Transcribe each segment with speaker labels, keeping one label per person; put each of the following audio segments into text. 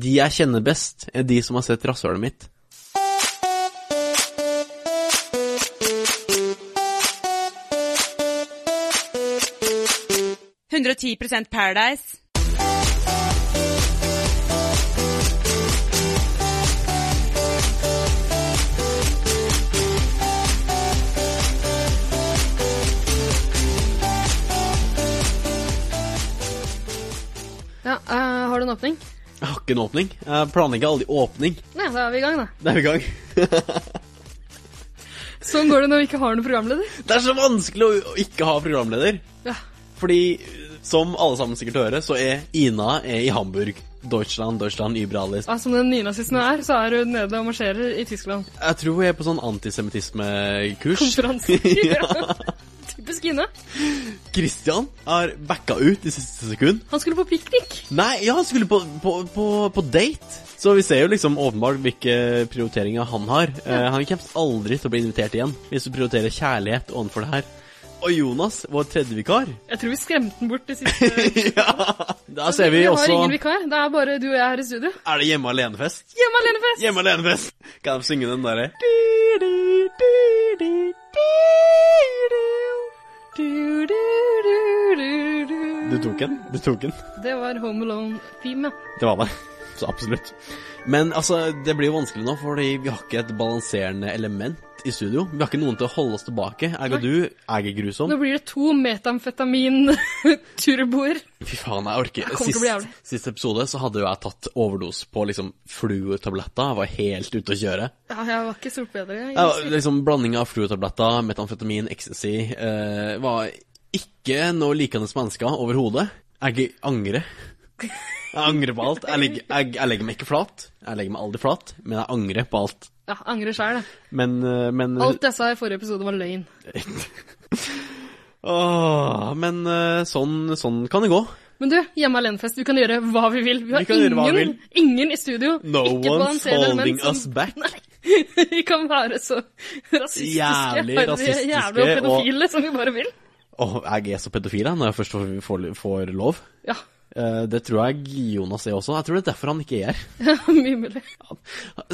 Speaker 1: De jeg kjenner best, er de som har sett rasshølet mitt.
Speaker 2: «110% Paradise».
Speaker 3: Ja, eh, Har du en åpning?
Speaker 1: Jeg har ikke en åpning. Jeg planlegger aldri åpning.
Speaker 3: Nei, da er vi i gang, da.
Speaker 1: Da er vi i gang.
Speaker 3: Sånn går det når vi ikke har noen programleder.
Speaker 1: Det er så vanskelig å- å ikke ha programleder.
Speaker 3: Ja.
Speaker 1: Fordi, som alle sammen sikkert hører, så er Ina er i Hamburg. Deutschland, Deutschland, Überallis.
Speaker 3: Ja, som den nynazisten hun er, så er hun nede og marsjerer i Tyskland.
Speaker 1: Jeg tror hun er på sånn antisemittismekurs.
Speaker 3: Konferanse.
Speaker 1: Ja.
Speaker 3: Typisk Ine.
Speaker 1: Christian har backa ut i siste sekund.
Speaker 3: Han skulle på piknik.
Speaker 1: Nei, ja, han skulle på, på, på, på date. Så vi ser jo liksom åpenbart hvilke prioriteringer han har. Eh, han kommer aldri til å bli invitert igjen hvis du prioriterer kjærlighet ovenfor det her. Og Jonas, vår tredje vikar.
Speaker 3: Jeg tror vi skremte den bort de siste
Speaker 1: ja, Da ser vi
Speaker 3: har
Speaker 1: også
Speaker 3: ingen vikar. Det er bare du og jeg her i studio.
Speaker 1: Er det hjemme alene-fest?
Speaker 3: Hjemme alene-fest!
Speaker 1: Hjemme alene-fest! Kan de synge den derre
Speaker 3: Du, du, du, du, du.
Speaker 1: Du tok den. Du tok den.
Speaker 3: Det var Home Alone-theme, ja.
Speaker 1: Det var det. Så absolutt. Men altså, det blir jo vanskelig nå, fordi vi har ikke et balanserende element i studio. Vi har ikke noen til å holde oss tilbake. Jeg og du, jeg er grusom.
Speaker 3: Nå blir det to metamfetamin-turboer.
Speaker 1: Fy faen, jeg orker.
Speaker 3: kommer til å bli jævlig.
Speaker 1: Sist, sist episode så hadde jo jeg tatt overdose på liksom fluetabletter. Jeg var helt ute å kjøre.
Speaker 3: Ja, jeg var ikke stort bedre. Jeg,
Speaker 1: Jeg var, liksom Blanding av fluetabletter, metamfetamin, ecstasy eh, var ikke noe likende mennesker overhodet. Jeg angrer. Jeg angrer på alt. Jeg legger, jeg, jeg legger meg ikke flat. Jeg legger meg aldri flat, men jeg angrer på alt.
Speaker 3: ja, angrer sjæl, jeg.
Speaker 1: Men, eh, men
Speaker 3: Alt jeg sa i forrige episode, var løgn.
Speaker 1: Åh, men eh, sånn, sånn kan det gå.
Speaker 3: Men du, hjemme alene-fest, vi kan gjøre hva vi vil. Vi har
Speaker 1: Vi kan gjøre hva vi
Speaker 3: ingen, ingen i studio.
Speaker 1: No
Speaker 3: ikke
Speaker 1: one's
Speaker 3: balanserende
Speaker 1: holding
Speaker 3: element som-
Speaker 1: us back.
Speaker 3: Vi kan være så rasistiske,
Speaker 1: Jævlig
Speaker 3: harry,
Speaker 1: rasistiske
Speaker 3: jævlig og
Speaker 1: og-
Speaker 3: pedofile som vi bare vil.
Speaker 1: Åh, jeg er så pedofil jeg, når jeg først får, får, får lov.
Speaker 3: Ja,
Speaker 1: Eh, det tror jeg Jonas er også. Jeg tror det er derfor han ikke er her.
Speaker 3: mye mulig.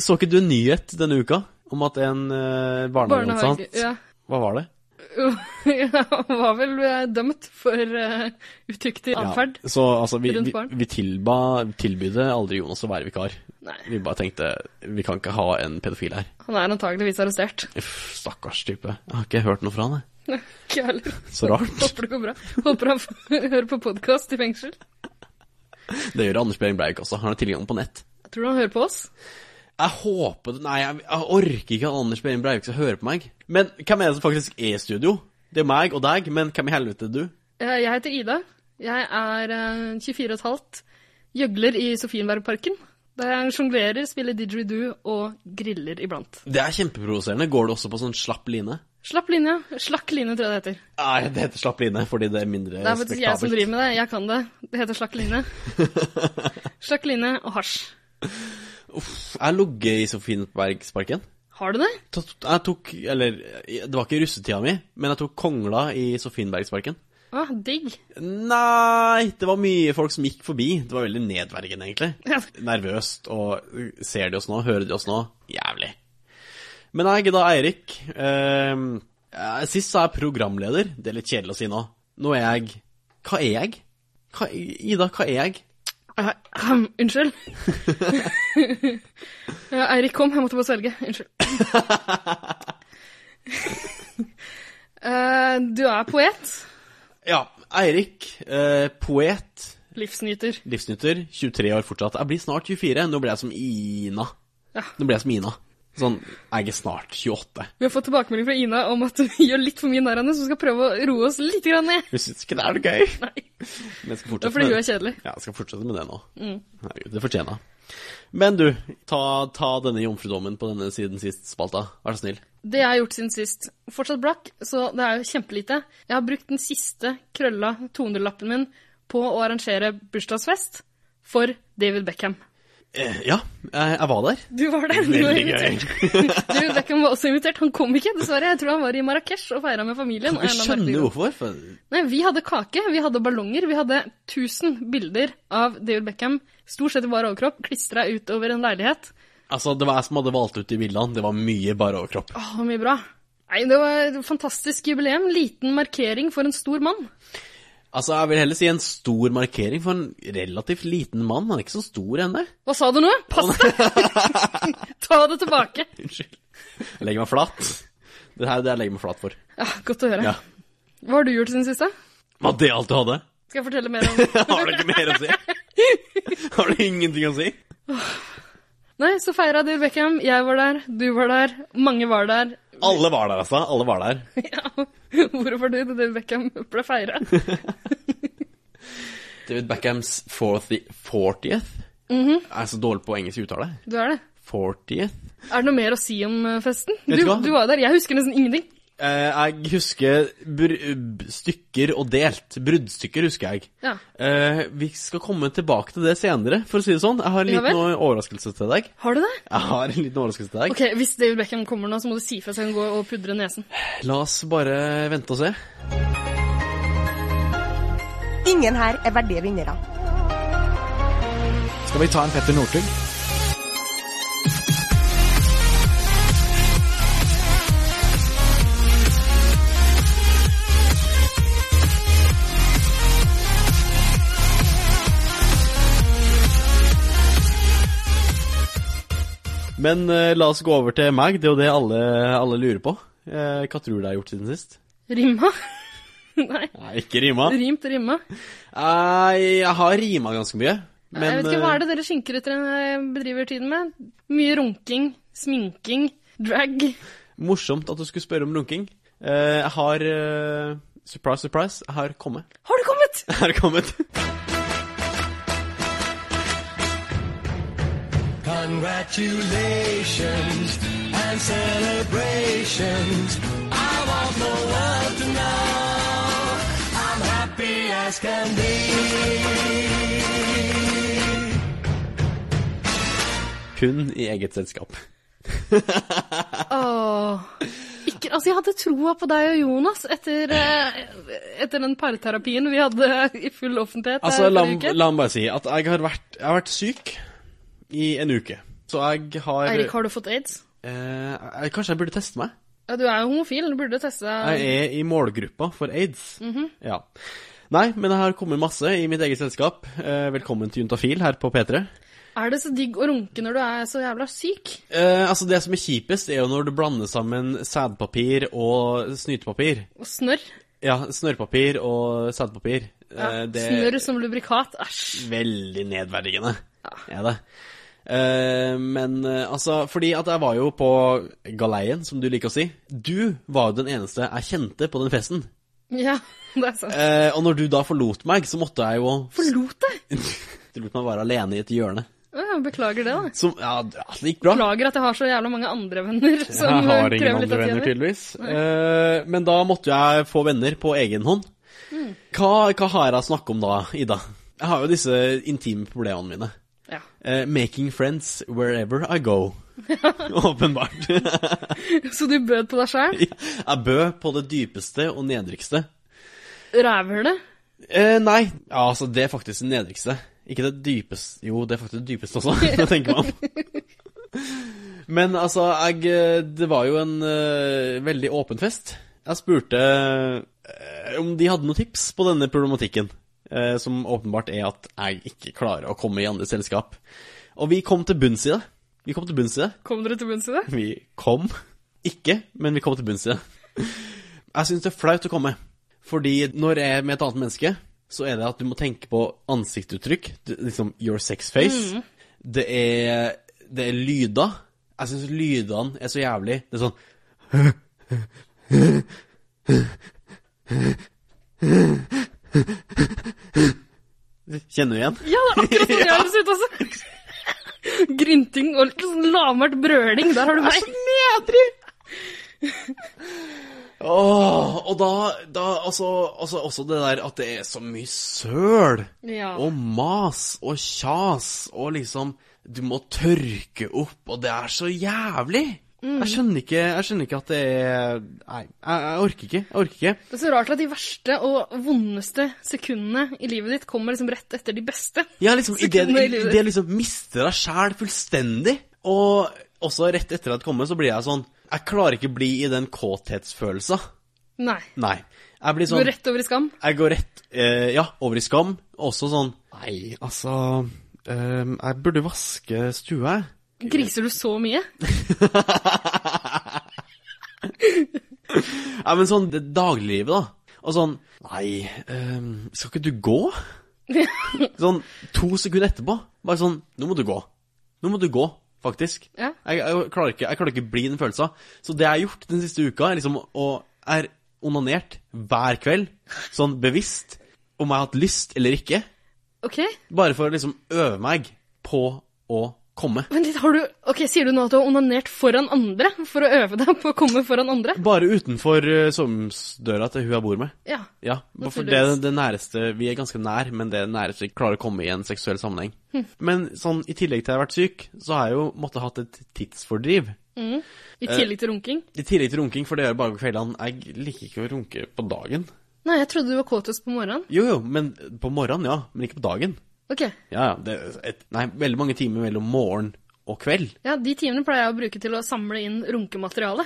Speaker 1: Så ikke du en nyhet denne uka om at en uh, barnehageansatt
Speaker 3: Barnehage ja.
Speaker 1: Hva var det?
Speaker 3: Ja, var vel eh, dømt for eh, utyktig atferd.
Speaker 1: Ja, så altså, vi,
Speaker 3: rundt
Speaker 1: vi,
Speaker 3: barn.
Speaker 1: vi tilba, tilbydde aldri Jonas å være vikar.
Speaker 3: Nei,
Speaker 1: Vi bare tenkte vi kan ikke ha en pedofil her.
Speaker 3: han er antageligvis arrestert.
Speaker 1: Uff, stakkars type. Jeg har ikke hørt noe fra han, jeg.
Speaker 3: Ikke heller.
Speaker 1: Så rart.
Speaker 3: Håper det går bra. Håper han får- hører på podkast i fengsel.
Speaker 1: Det gjør Anders Behring Breivik også. Han har tilgang på nett.
Speaker 3: Tror du han hører på oss?
Speaker 1: Jeg håper det Nei, jeg, jeg orker ikke at Anders Behring Breivik skal høre på meg. Men hvem er det som faktisk er i studio? Det er meg og deg, men hvem i helvete er du?
Speaker 3: Eh, Jeg heter Ida. Jeg er eh, 24 og et halvt. Gjøgler i Sofienbergparken. Der jeg sjonglerer, spiller didgeridoo og griller iblant.
Speaker 1: Det er kjempeprovoserende. Går du også på sånn slapp line?
Speaker 3: Slapp linja. Slakk linje, tror jeg det heter.
Speaker 1: Nei, det heter slapp line fordi det er mindre
Speaker 3: Det er faktisk jeg som driver med det. Jeg kan det. Det heter slakk linje. Slakk linje og hasj.
Speaker 1: Jeg har ligget i Sofienbergsparken.
Speaker 3: Har du det?
Speaker 1: Ta- Jeg tok Eller, det var ikke russetida mi, men jeg tok kongla i Sofienbergsparken.
Speaker 3: Ah, digg.
Speaker 1: Nei, det var mye folk som gikk forbi. Det var veldig nedverdigende, egentlig.
Speaker 3: Ja.
Speaker 1: Nervøst. Og ser de oss nå? Hører de oss nå? Jævlig. Men jeg er da Eirik. Ehm, eh, sist sa jeg programleder. Det er litt kjedelig å si nå. Nå er jeg Hva er jeg? Hva, Ida, hva er jeg?
Speaker 3: Ah, ahem, Unnskyld. ja, Eirik kom, jeg måtte bare svelge. Unnskyld. Eh, du er poet.
Speaker 1: Ja, Eirik. Eh, poet.
Speaker 3: Livsnyter.
Speaker 1: Livsnytter. 23 år fortsatt. Jeg blir snart 24. Nå blir jeg som Ina.
Speaker 3: Ja.
Speaker 1: Nå blir jeg som Ina. Sånn, jeg er snart 28.
Speaker 3: Vi har fått tilbakemelding fra Ina om at vi gjør litt for mye narr av henne, så vi skal prøve å roe oss litt grann ned.
Speaker 1: Jeg syns ikke det er noe gøy.
Speaker 3: Nei,
Speaker 1: Men jeg skal
Speaker 3: det er
Speaker 1: fortsette
Speaker 3: fordi
Speaker 1: med
Speaker 3: hun
Speaker 1: det.
Speaker 3: er Mm. kjedelig.
Speaker 1: Ja, jeg skal fortsette med det nå. Herregud, det fortjener jeg. Men du, ta, ta denne jomfrudommen på denne siden sist-spalta. Vær så snill.
Speaker 3: Det jeg har gjort siden sist. Fortsatt blakk, så det er jo kjempelite. Jeg har brukt den siste krølla 200-lappen min på å arrangere bursdagsfest for David Beckham.
Speaker 1: Eh, ja, jeg, jeg var der.
Speaker 3: Du var der. Du var
Speaker 1: Veldig
Speaker 3: invitert.
Speaker 1: gøy.
Speaker 3: David Beckham var også invitert. Han kom ikke, dessverre. Jeg tror han var i Marrakech og feira med familien. av en
Speaker 1: Jeg
Speaker 3: eller annen merkelig
Speaker 1: skjønner
Speaker 3: grunn.
Speaker 1: hvorfor. For
Speaker 3: Nei, vi hadde kake, vi hadde ballonger, vi hadde 1000 bilder av David Beckham, stort sett i bar overkropp, klistra utover en leilighet.
Speaker 1: altså, det var jeg som hadde valgt ut de bildene. Det var mye bare overkropp.
Speaker 3: Åh, mye bra. Nei, det var et fantastisk jubileum. Liten markering for en stor mann.
Speaker 1: Altså, jeg vil heller si en stor markering for en relativt liten mann. Han er ikke så stor ennå.
Speaker 3: Hva sa du nå? Pass deg! Ta det tilbake.
Speaker 1: Unnskyld. Jeg legger meg flat. Det her er det jeg legger meg flat for.
Speaker 3: Ja, godt å høre.
Speaker 1: Ja.
Speaker 3: Hva har du gjort siden siste?
Speaker 1: Var det alt du hadde?
Speaker 3: Skal jeg fortelle mer om
Speaker 1: Har du ikke mer å si? Har du ingenting å si?
Speaker 3: Nei, så feira David Beckham. Jeg var der, du var der, mange var der.
Speaker 1: Alle var der, altså. Alle var der.
Speaker 3: Ja, Hvor var du da David Beckham ble feira?
Speaker 1: David Beckhams 40th, 40th?
Speaker 3: Mhm.
Speaker 1: Jeg er så dårlig på engelsk uttale.
Speaker 3: Du er det.
Speaker 1: 40th?
Speaker 3: Er det noe mer å si om eh, festen?
Speaker 1: Vet
Speaker 3: Du,
Speaker 1: du hva?
Speaker 3: du var der. Jeg husker nesten ingenting.
Speaker 1: Eh, jeg husker br b- stykker og delt. Bruddstykker husker jeg.
Speaker 3: Ja.
Speaker 1: Eh, vi skal komme tilbake til det senere, for å si det sånn. Jeg har en
Speaker 3: Ja
Speaker 1: liten overraskelse til deg.
Speaker 3: Har du det?
Speaker 1: Jeg har en liten overraskelse til deg.
Speaker 3: Ok, Hvis David Beckham kommer nå, så må du si fra så jeg kan gå og pudre nesen.
Speaker 1: La oss bare vente og se.
Speaker 4: Ingen her er verdige vinnere.
Speaker 5: Skal vi ta en Petter Northug?
Speaker 1: Men eh, la oss gå over til meg. Det er jo det alle, alle lurer på. Eh, hva tror du jeg har gjort siden sist?
Speaker 3: Rimma? Nei.
Speaker 1: Nei, ikke rima.
Speaker 3: Rimt rimma.
Speaker 1: Jeg, Eh, jeg har rima ganske mye. Men eh,
Speaker 3: jeg vet ikke, Hva er det dere skinkeryttere bedriver tiden med? Mye runking, sminking, drag.
Speaker 1: eh, morsomt at du skulle spørre om runking. Eh, jeg har eh, Surprise, surprise. Jeg har kommet.
Speaker 3: Har du kommet?
Speaker 1: Jeg har kommet.
Speaker 6: Congratulations and celebrations. I want the world to know I'm happy as can be.
Speaker 1: Kun i eget selskap.
Speaker 3: Åh. Ikke, altså, jeg hadde troa på deg og Jonas etter, eh, etter den parterapien vi hadde i full offentlighet
Speaker 1: Altså,
Speaker 3: her
Speaker 1: la,
Speaker 3: forrige uke.
Speaker 1: la meg bare si at jeg har, vært, jeg har vært syk i en uke. Så jeg har,
Speaker 3: Eirik, har du fått aids?
Speaker 1: eh, jeg, Kanskje jeg burde teste meg?
Speaker 3: Ja, du er jo homofil, du burde teste deg.
Speaker 1: Jeg er i målgruppa for aids.
Speaker 3: Mhm.
Speaker 1: Ja. Nei, men jeg har kommet masse i mitt eget selskap. Eh, velkommen til Juntafil her på P3.
Speaker 3: Er det så digg å runke når du er så jævla syk?
Speaker 1: Eh, altså Det som er kjipest, er jo når du blander sammen sædpapir og snytepapir.
Speaker 3: Og snørr.
Speaker 1: Ja, snørrpapir og sædpapir.
Speaker 3: Ja.
Speaker 1: Eh, det
Speaker 3: Snørr som lubrikat. Æsj.
Speaker 1: er veldig nedverdigende, er det. Eh, men eh, altså Fordi at jeg var jo på galeien, som du liker å si. Du var jo den eneste jeg kjente på den festen.
Speaker 3: Ja, det er sant.
Speaker 1: Eh, og når du da forlot meg, så måtte jeg jo
Speaker 3: Forlot deg?
Speaker 1: Du lot meg være alene i et hjørne.
Speaker 3: Å Ja, beklager det, da.
Speaker 1: Som, ja, det det gikk bra.
Speaker 3: Beklager at jeg har så jævla mange andre venner som
Speaker 1: jeg
Speaker 3: eh,
Speaker 1: har ingen
Speaker 3: krever litt
Speaker 1: andre
Speaker 3: av
Speaker 1: venner,
Speaker 3: tiden.
Speaker 1: tydeligvis. Eh, men da måtte jeg få venner på egen hånd.
Speaker 3: Mm.
Speaker 1: Hva, hva har jeg å snakke om da, Ida? Jeg har jo disse intime problemene mine.
Speaker 3: Ja.
Speaker 1: Eh, making friends wherever I go. Åpenbart.
Speaker 3: Så du bød på deg sjæl?
Speaker 1: jeg bød på det dypeste og nedrigste.
Speaker 3: Rævhølet?
Speaker 1: Eh, nei, ja, altså det er faktisk det nedrigste. Ikke det dypeste Jo, det er faktisk det dypeste også, når jeg tenker meg om. Men altså, jeg eh, Det var jo en eh, veldig åpen fest. Jeg spurte eh, om de hadde noen tips på denne problematikken, eh, som åpenbart er at jeg ikke klarer å komme i andre selskap. Og vi kom til bunns i det. Vi kom til bunns i det.
Speaker 3: Kom dere til bunns i det?
Speaker 1: Vi kom. Ikke, men vi kom til bunns i det. Jeg syns det er flaut å komme. Fordi når jeg er med et annet menneske, så er det at du må tenke på ansiktsuttrykk. du- Liksom your sex face. Det, er, det er lyder. Jeg syns lydene er så jævlig. Det er sånn Kjenner du igjen?
Speaker 3: Ja, det er akkurat sånn det høres ut, altså. Grynting og litt sånn lamert brøling. Der har du meg.
Speaker 1: nedrig! Åh, og da, da altså, altså også det der at det er så mye søl
Speaker 3: Ja.
Speaker 1: og mas og kjas og liksom Du må tørke opp, og det er så jævlig!
Speaker 3: Mm.
Speaker 1: Jeg, skjønner ikke, jeg skjønner ikke at det er Nei, jeg, jeg orker ikke. Jeg orker ikke.
Speaker 3: Det er så rart at de verste og vondeste sekundene i livet ditt kommer liksom rett etter de beste.
Speaker 1: Ja, liksom, i det,
Speaker 3: Sekundene i
Speaker 1: i
Speaker 3: livet.
Speaker 1: det liksom mister deg sjæl fullstendig. Og også rett etter at det kommer, så blir jeg sånn Jeg klarer ikke bli i den kåthetsfølelsen.
Speaker 3: Nei.
Speaker 1: Nei. Jeg blir
Speaker 3: Du
Speaker 1: sånn
Speaker 3: går rett over i skam.
Speaker 1: Jeg går rett eh, Ja, over i skam. Også sånn Nei, altså ehm, Jeg burde vaske stua, jeg.
Speaker 3: Griser du så mye?
Speaker 1: Nei, men sånn det dagliglivet, da. Og sånn Nei, ehm, skal ikke du gå? sånn to sekunder etterpå. Bare sånn Nå må du gå. Nå må du gå, faktisk.
Speaker 3: Ja.
Speaker 1: Jeg, jeg, klarer ikke, jeg klarer ikke bli den følelsen. Så det jeg har gjort den siste uka, er liksom å er onanert hver kveld, sånn bevisst, om jeg har hatt lyst eller ikke.
Speaker 3: Ok,
Speaker 1: Bare for å liksom øve meg på å komme.
Speaker 3: vent litt, har du... Ok, sier du nå at du har onanert foran andre for å øve deg på å komme foran andre?
Speaker 1: Bare utenfor eh, soveromsdøra til hun jeg bor med.
Speaker 3: Ja.
Speaker 1: Ja, for det er
Speaker 3: Naturligvis.
Speaker 1: det næreste Vi er ganske nær, men det er det næreste vi klarer å komme i en seksuell sammenheng. Men sånn, i tillegg til at jeg har vært syk, så har jeg jo måttet hatt et tidsfordriv.
Speaker 3: I tillegg til runking?
Speaker 1: I tillegg til runking, for det gjør jeg bare på kveldene. Jeg liker ikke å runke på dagen.
Speaker 3: Nei, jeg trodde du var kåtest på morgenen.
Speaker 1: Jo, jo, men på morgenen, ja. Men ikke på dagen.
Speaker 3: Ok,
Speaker 1: Ja, ja. Det er et, nei, veldig mange timer mellom morgen og kveld.
Speaker 3: ja, de timene pleier jeg å bruke til å samle inn runkemateriale.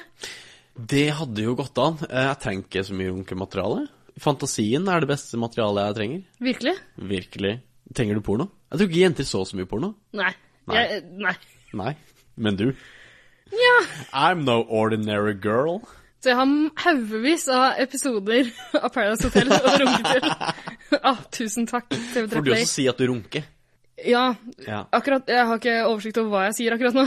Speaker 1: Det hadde jo gått an. Eh, Jeg trenger ikke så mye runkemateriale. Fantasien er det beste materialet jeg trenger.
Speaker 3: Virkelig?
Speaker 1: Virkelig. Trenger du porno? Jeg tror ikke jenter så så mye porno.
Speaker 3: Nei.
Speaker 1: Nei.
Speaker 3: Jeg, nei.
Speaker 1: Nei. Men du?
Speaker 3: Ja,
Speaker 1: I'm no ordinary girl.
Speaker 3: så jeg har haugevis av episoder av Paradise Hotel å runke til. ah, tusen takk, TV3
Speaker 1: Får du
Speaker 3: Play.
Speaker 1: også si at du runker?
Speaker 3: Ja,
Speaker 1: Ja.
Speaker 3: akkurat, jeg har ikke oversikt over hva jeg sier akkurat nå.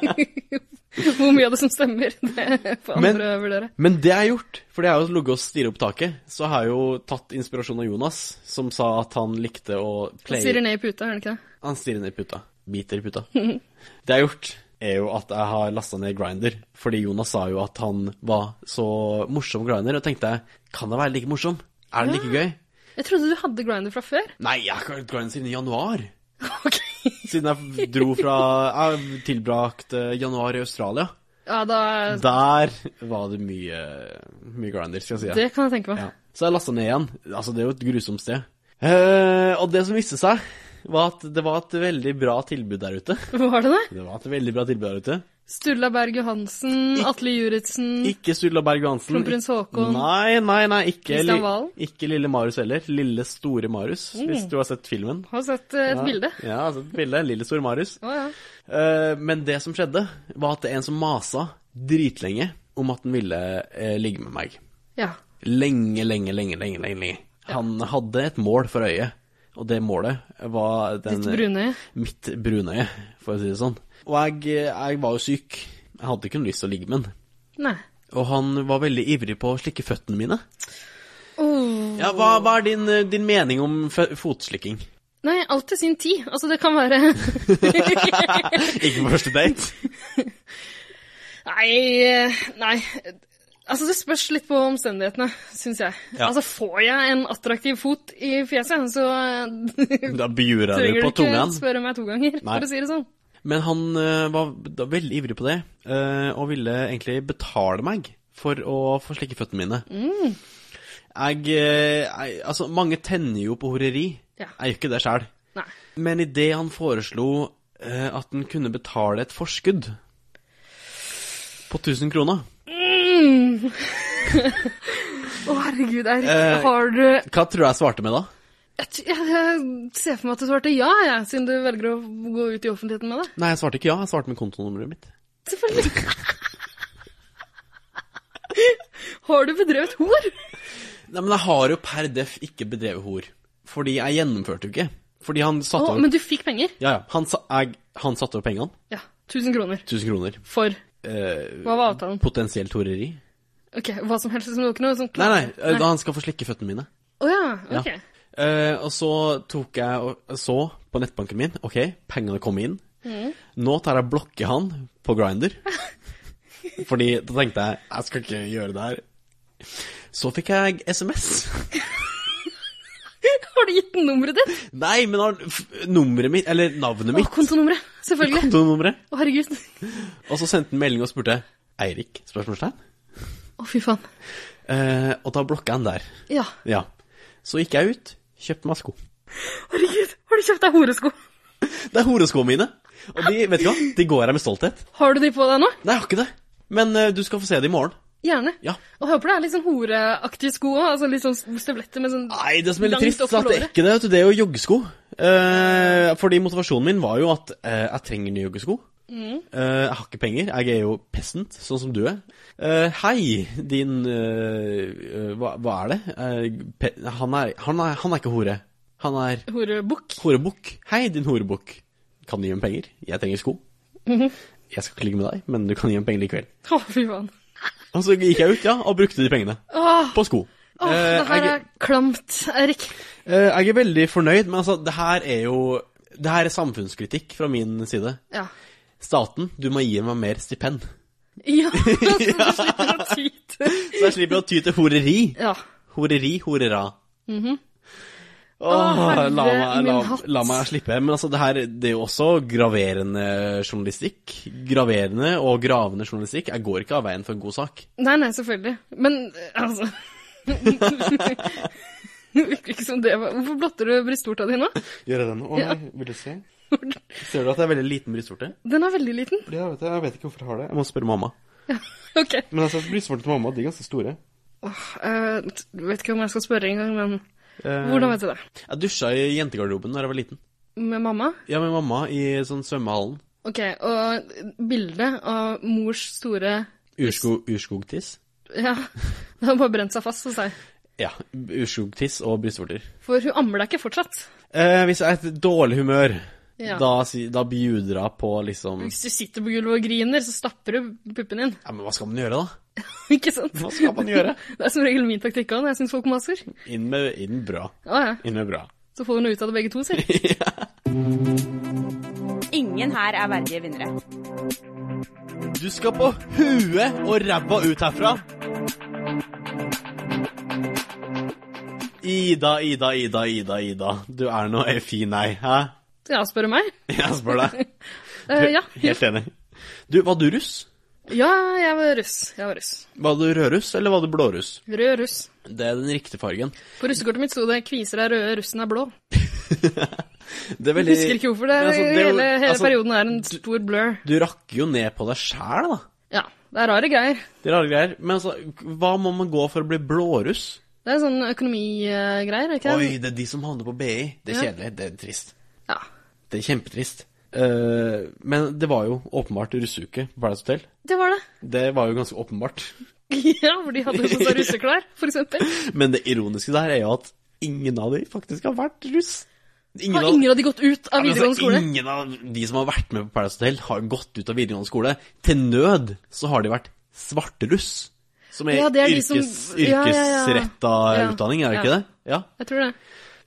Speaker 3: Hvor mye av det som stemmer, det får
Speaker 1: Men-
Speaker 3: andre vurdere.
Speaker 1: Men det er gjort, for det er jo ligget og stirret opp taket. Så har jeg jo tatt inspirasjon av Jonas, som sa at han likte å
Speaker 3: Han
Speaker 1: playe
Speaker 3: stirrer ned i puta, gjør han ikke det?
Speaker 1: Han stirrer ned i puta. Biter i puta. Det jeg har gjort, er jo at jeg har lasta ned Grinder. Fordi Jonas sa jo at han var så morsom Grinder, og tenkte jeg, kan det være like morsom? Er det like gøy?
Speaker 3: Jeg trodde du hadde Grindr fra før.
Speaker 1: Nei, jeg har ikke hatt Grinder siden januar.
Speaker 3: Ok.
Speaker 1: Siden jeg dro fra Jeg tilbrakte januar i Australia.
Speaker 3: Ja, da
Speaker 1: Der var det mye, mye Grinder, skal jeg si.
Speaker 3: Det kan jeg tenke meg.
Speaker 1: Ja. Så jeg lasta ned igjen. Altså, det er jo et grusomt sted. Eh, og det som viste seg, var at det var et veldig bra tilbud der ute.
Speaker 3: Var det det?
Speaker 1: Det var et veldig bra tilbud der ute.
Speaker 3: Sturla Berg Johansen, Atle Juritzen
Speaker 1: Ikke Sturla Berg Johansen.
Speaker 3: Kronprins Haakon.
Speaker 1: Nei, nei, nei, ikke,
Speaker 3: Kristian Valen.
Speaker 1: ikke lille Marius heller. Lille store Marius, hvis du har sett filmen.
Speaker 3: Har sett eh, Mm. et
Speaker 1: Ja.
Speaker 3: bilde.
Speaker 1: Ja, altså et bilde. Lille store Marius.
Speaker 3: Å ja.
Speaker 1: Eh, men det som skjedde, var at det er en som masa dritlenge om at han ville eh, ligge med meg.
Speaker 3: ja.
Speaker 1: Lenge, lenge, lenge, lenge, lenge. lenge. Han hadde et mål for øyet, og det målet var den
Speaker 3: Ditt brune.
Speaker 1: mitt brunøye, for å si det sånn. Og jeg, eh, jeg var jo syk. Jeg hadde ikke noe lyst til å ligge med han.
Speaker 3: Nei.
Speaker 1: Og han var veldig ivrig på å slikke føttene mine.
Speaker 3: Oh.
Speaker 1: Ja, Hva, hva er din, eh, din mening om fø- fotslikking?
Speaker 3: Nei, alt til sin tid. Altså, det kan være
Speaker 1: Ikke på første date?
Speaker 3: Nei, eh, nei. Altså, det spørs litt på omstendighetene, syns jeg.
Speaker 1: Ja.
Speaker 3: Altså, får jeg en attraktiv fot i fjeset, så eh,
Speaker 1: Da bjurer jeg
Speaker 3: trenger
Speaker 1: deg
Speaker 3: du
Speaker 1: på
Speaker 3: ikke
Speaker 1: tungen.
Speaker 3: spørre meg to ganger,
Speaker 1: Nei.
Speaker 3: for å si det sånn.
Speaker 1: Men han eh, var da veldig ivrig på det, eh, og ville egentlig betale meg for å få slikke føttene mine.
Speaker 3: Mm.
Speaker 1: Jeg, eh, jeg Altså, mange tenner jo på horeri.
Speaker 3: Ja.
Speaker 1: Jeg gjør ikke det sjæl.
Speaker 3: Nei.
Speaker 1: Men idet han foreslo eh, at han kunne betale et forskudd på 1000 kroner
Speaker 3: Å, herregud, Eirik.
Speaker 1: Eh,
Speaker 3: Har du jeg,
Speaker 1: Hva tror du jeg svarte med da?
Speaker 3: t- jeg, jeg ser for meg at du svarte ja, jeg, siden du velger å gå ut i offentligheten med det.
Speaker 1: Nei, jeg svarte ikke ja. Jeg svarte med kontonummeret mitt.
Speaker 3: Selvfølgelig. Har du bedrevet hor?
Speaker 1: Nei, men jeg har jo per def ikke bedrevet hor. Fordi jeg gjennomførte jo ikke. Fordi han
Speaker 3: Å,
Speaker 1: satte
Speaker 3: men
Speaker 1: over
Speaker 3: du fikk penger?
Speaker 1: Ja, ja. Han, sa, jeg, han satte over pengene.
Speaker 3: Ja. 1000 kroner.
Speaker 1: 1000 kroner.
Speaker 3: For
Speaker 1: Eh,
Speaker 3: Hva var avtalen?
Speaker 1: potensielt horeri.
Speaker 3: Ok, hva som helst. Liksom, det var ikke noe sånn
Speaker 1: Nei, nei, eh, da han skal få slikke føttene mine.
Speaker 3: Å ja, ok.
Speaker 1: Ja. Eh, og så tok jeg og så på nettbanken
Speaker 3: Mm.
Speaker 1: min. Ok, pengene kom inn. Nå tar jeg blokke han på Grinder. Fordi da tenkte jeg jeg skal ikke gjøre det her. Så fikk jeg SMS.
Speaker 3: Har du gitt den nummeret ditt?
Speaker 1: Nei, men har- f- nummeret mitt, eller navnet
Speaker 3: Å,
Speaker 1: mitt,
Speaker 3: kontonummeret. Selvfølgelig.
Speaker 1: kontonummeret.
Speaker 3: Å, herregud. Å,
Speaker 1: Og så sendte han melding og spurte Eirik? spørsmålstegn.
Speaker 3: fy faen.
Speaker 1: Eh, og da blokka han der.
Speaker 3: Ja.
Speaker 1: Ja. Så gikk jeg ut, kjøpte meg sko.
Speaker 3: Herregud, har du kjøpt deg horesko?
Speaker 1: Det er horeskoene mine. Og de, vet du hva, de går her med stolthet.
Speaker 3: Har du de på deg nå?
Speaker 1: Nei, jeg har ikke det. Men eh, du skal få se det i morgen.
Speaker 3: Gjerne.
Speaker 1: Ja.
Speaker 3: Og håper det er litt sånn horeaktige sko òg. Altså litt sånn støvletter med sånn
Speaker 1: Nei, det som er litt
Speaker 3: Langt
Speaker 1: trist,
Speaker 3: opp på
Speaker 1: er at det er
Speaker 3: låret.
Speaker 1: ikke det. vet du, Det er jo joggesko. Eh, fordi motivasjonen min var jo at eh, jeg trenger nye joggesko.
Speaker 3: Mm.
Speaker 1: Eh, jeg har ikke penger. Jeg er jo peasant, sånn som du er. Eh, hei, din eh, eh, hva, hva er det? Eh, pe han, er, han, er, han er ikke hore. Han er
Speaker 3: horebukk.
Speaker 1: horebukk. Hei, din horebukk. Kan du gi meg penger? Jeg trenger sko.
Speaker 3: Mhm.
Speaker 1: Jeg skal ikke ligge med deg, men du kan gi meg penger likevel.
Speaker 3: Å, fy faen.
Speaker 1: Og så gikk jeg ut, ja, og brukte de pengene.
Speaker 3: Åh,
Speaker 1: På sko.
Speaker 3: åh,
Speaker 1: Eh,
Speaker 3: det her
Speaker 1: jeg-
Speaker 3: er klamt, Eirik.
Speaker 1: Eh, Jeg er veldig fornøyd, men altså, det her er jo Det her er samfunnskritikk fra min side.
Speaker 3: Ja.
Speaker 1: Staten, du må gi meg mer stipend.
Speaker 3: Ja, så du slipper å ty til
Speaker 1: Så jeg slipper å ty til horeri.
Speaker 3: Ja.
Speaker 1: Horeri, horera.
Speaker 3: Å,
Speaker 1: Åh,
Speaker 3: Mhm. herre
Speaker 1: la, meg, la,
Speaker 3: min hatt.
Speaker 1: la meg slippe. Men altså, det her det er jo også graverende journalistikk. Graverende og gravende journalistikk. Jeg går ikke av veien for en god sak.
Speaker 3: Nei, nei, selvfølgelig. Men eh, altså Det virker ikke som det var Hvorfor blotter du brystvorta di nå?
Speaker 1: Gjør jeg det nå? Å
Speaker 3: Ja.
Speaker 1: vil du se? Ser du at jeg er veldig liten brystvorte?
Speaker 3: Den er veldig liten.
Speaker 1: Jeg vet, ikke hvorfor jeg har det. Jeg må spørre mamma.
Speaker 3: Ok.
Speaker 1: Men altså, brystvortene til mamma, de er ganske store.
Speaker 3: Eh, t- vet ikke om jeg skal spørre engang, men hvordan vet du det?
Speaker 1: Jeg dusja i jentegarderoben da jeg var liten.
Speaker 3: Med mamma?
Speaker 1: Ja, med mamma i sånn svømmehallen.
Speaker 3: Ok, og bildet av mors store
Speaker 1: Ursko, urskogtiss?
Speaker 3: Ja, det har bare brent seg fast hos deg.
Speaker 1: Ja. Urskogtiss og brystvorter.
Speaker 3: For hun ammer deg ikke fortsatt.
Speaker 1: Eh, hvis jeg er i et dårlig humør,
Speaker 3: Ja. Mm.
Speaker 1: da, si- da bjuder jeg på liksom
Speaker 3: Hvis du sitter på gulvet og griner, så stapper du puppen din.
Speaker 1: Ja, men hva skal man gjøre, da?
Speaker 3: ikke sant?
Speaker 1: Hva skal man gjøre?
Speaker 3: Det er som regel min taktikk òg når jeg syns folk maser.
Speaker 1: Inn med, inn med bra.
Speaker 3: Å ja.
Speaker 1: Inn med bra.
Speaker 3: Så får hun noe ut av det begge to, sier
Speaker 2: Ingen her er verdige vinnere.
Speaker 1: Du skal på huet og ræva ut herfra. Ida, Ida, Ida, Ida, Ida. Du er nå ei fin ei, hæ?
Speaker 3: Ja, spør du meg?
Speaker 1: Jeg spør deg.
Speaker 3: Eh, ja.
Speaker 1: Helt enig. Du, var du russ?
Speaker 3: ja, jeg var russ. Jeg var russ.
Speaker 1: Var du rødruss, eller var du blåruss?
Speaker 3: Rød russ.
Speaker 1: Det er den riktige fargen.
Speaker 3: På russekortet mitt sto det 'kviser er røde, russen er blå'.
Speaker 1: Det er
Speaker 3: Jeg
Speaker 1: veldig-
Speaker 3: husker ikke hvorfor. det,
Speaker 1: Men altså, det er jo-
Speaker 3: Hele, hele
Speaker 1: altså,
Speaker 3: perioden er en stor blur.
Speaker 1: Du rakker jo ned på deg sjæl, da.
Speaker 3: Ja, det er rare greier.
Speaker 1: Det er rare greier. Men altså, hva må man gå for å bli blåruss?
Speaker 3: Det er sånn økonomigreier, er ikke det?
Speaker 1: Oi, det er de som havner på BI. Det er
Speaker 3: Ja.
Speaker 1: kjedelig. Det er trist.
Speaker 3: Ja.
Speaker 1: Det er kjempetrist. Eh, men det var jo åpenbart russeuke på Paradise Hotel.
Speaker 3: Det var det.
Speaker 1: Det var jo ganske åpenbart.
Speaker 3: Ja, hvor de hadde jo sånn russeklær, for eksempel.
Speaker 1: Men det ironiske der er jo at ingen av de faktisk har vært russ. Ingen
Speaker 3: Har ingen av de gått ut av
Speaker 1: Ja, men altså,
Speaker 3: videregående skole?
Speaker 1: Ingen av de som har vært med på Paradise Hotel, har gått ut av videregående skole. Til nød så har de vært svarteruss. Som er,
Speaker 3: Ja, det er de
Speaker 1: yrkes,
Speaker 3: som- ja, ja, ja.
Speaker 1: yrkesretta
Speaker 3: Ja.
Speaker 1: utdanning, er det
Speaker 3: Ja.
Speaker 1: ikke det? Ja.
Speaker 3: Jeg tror det.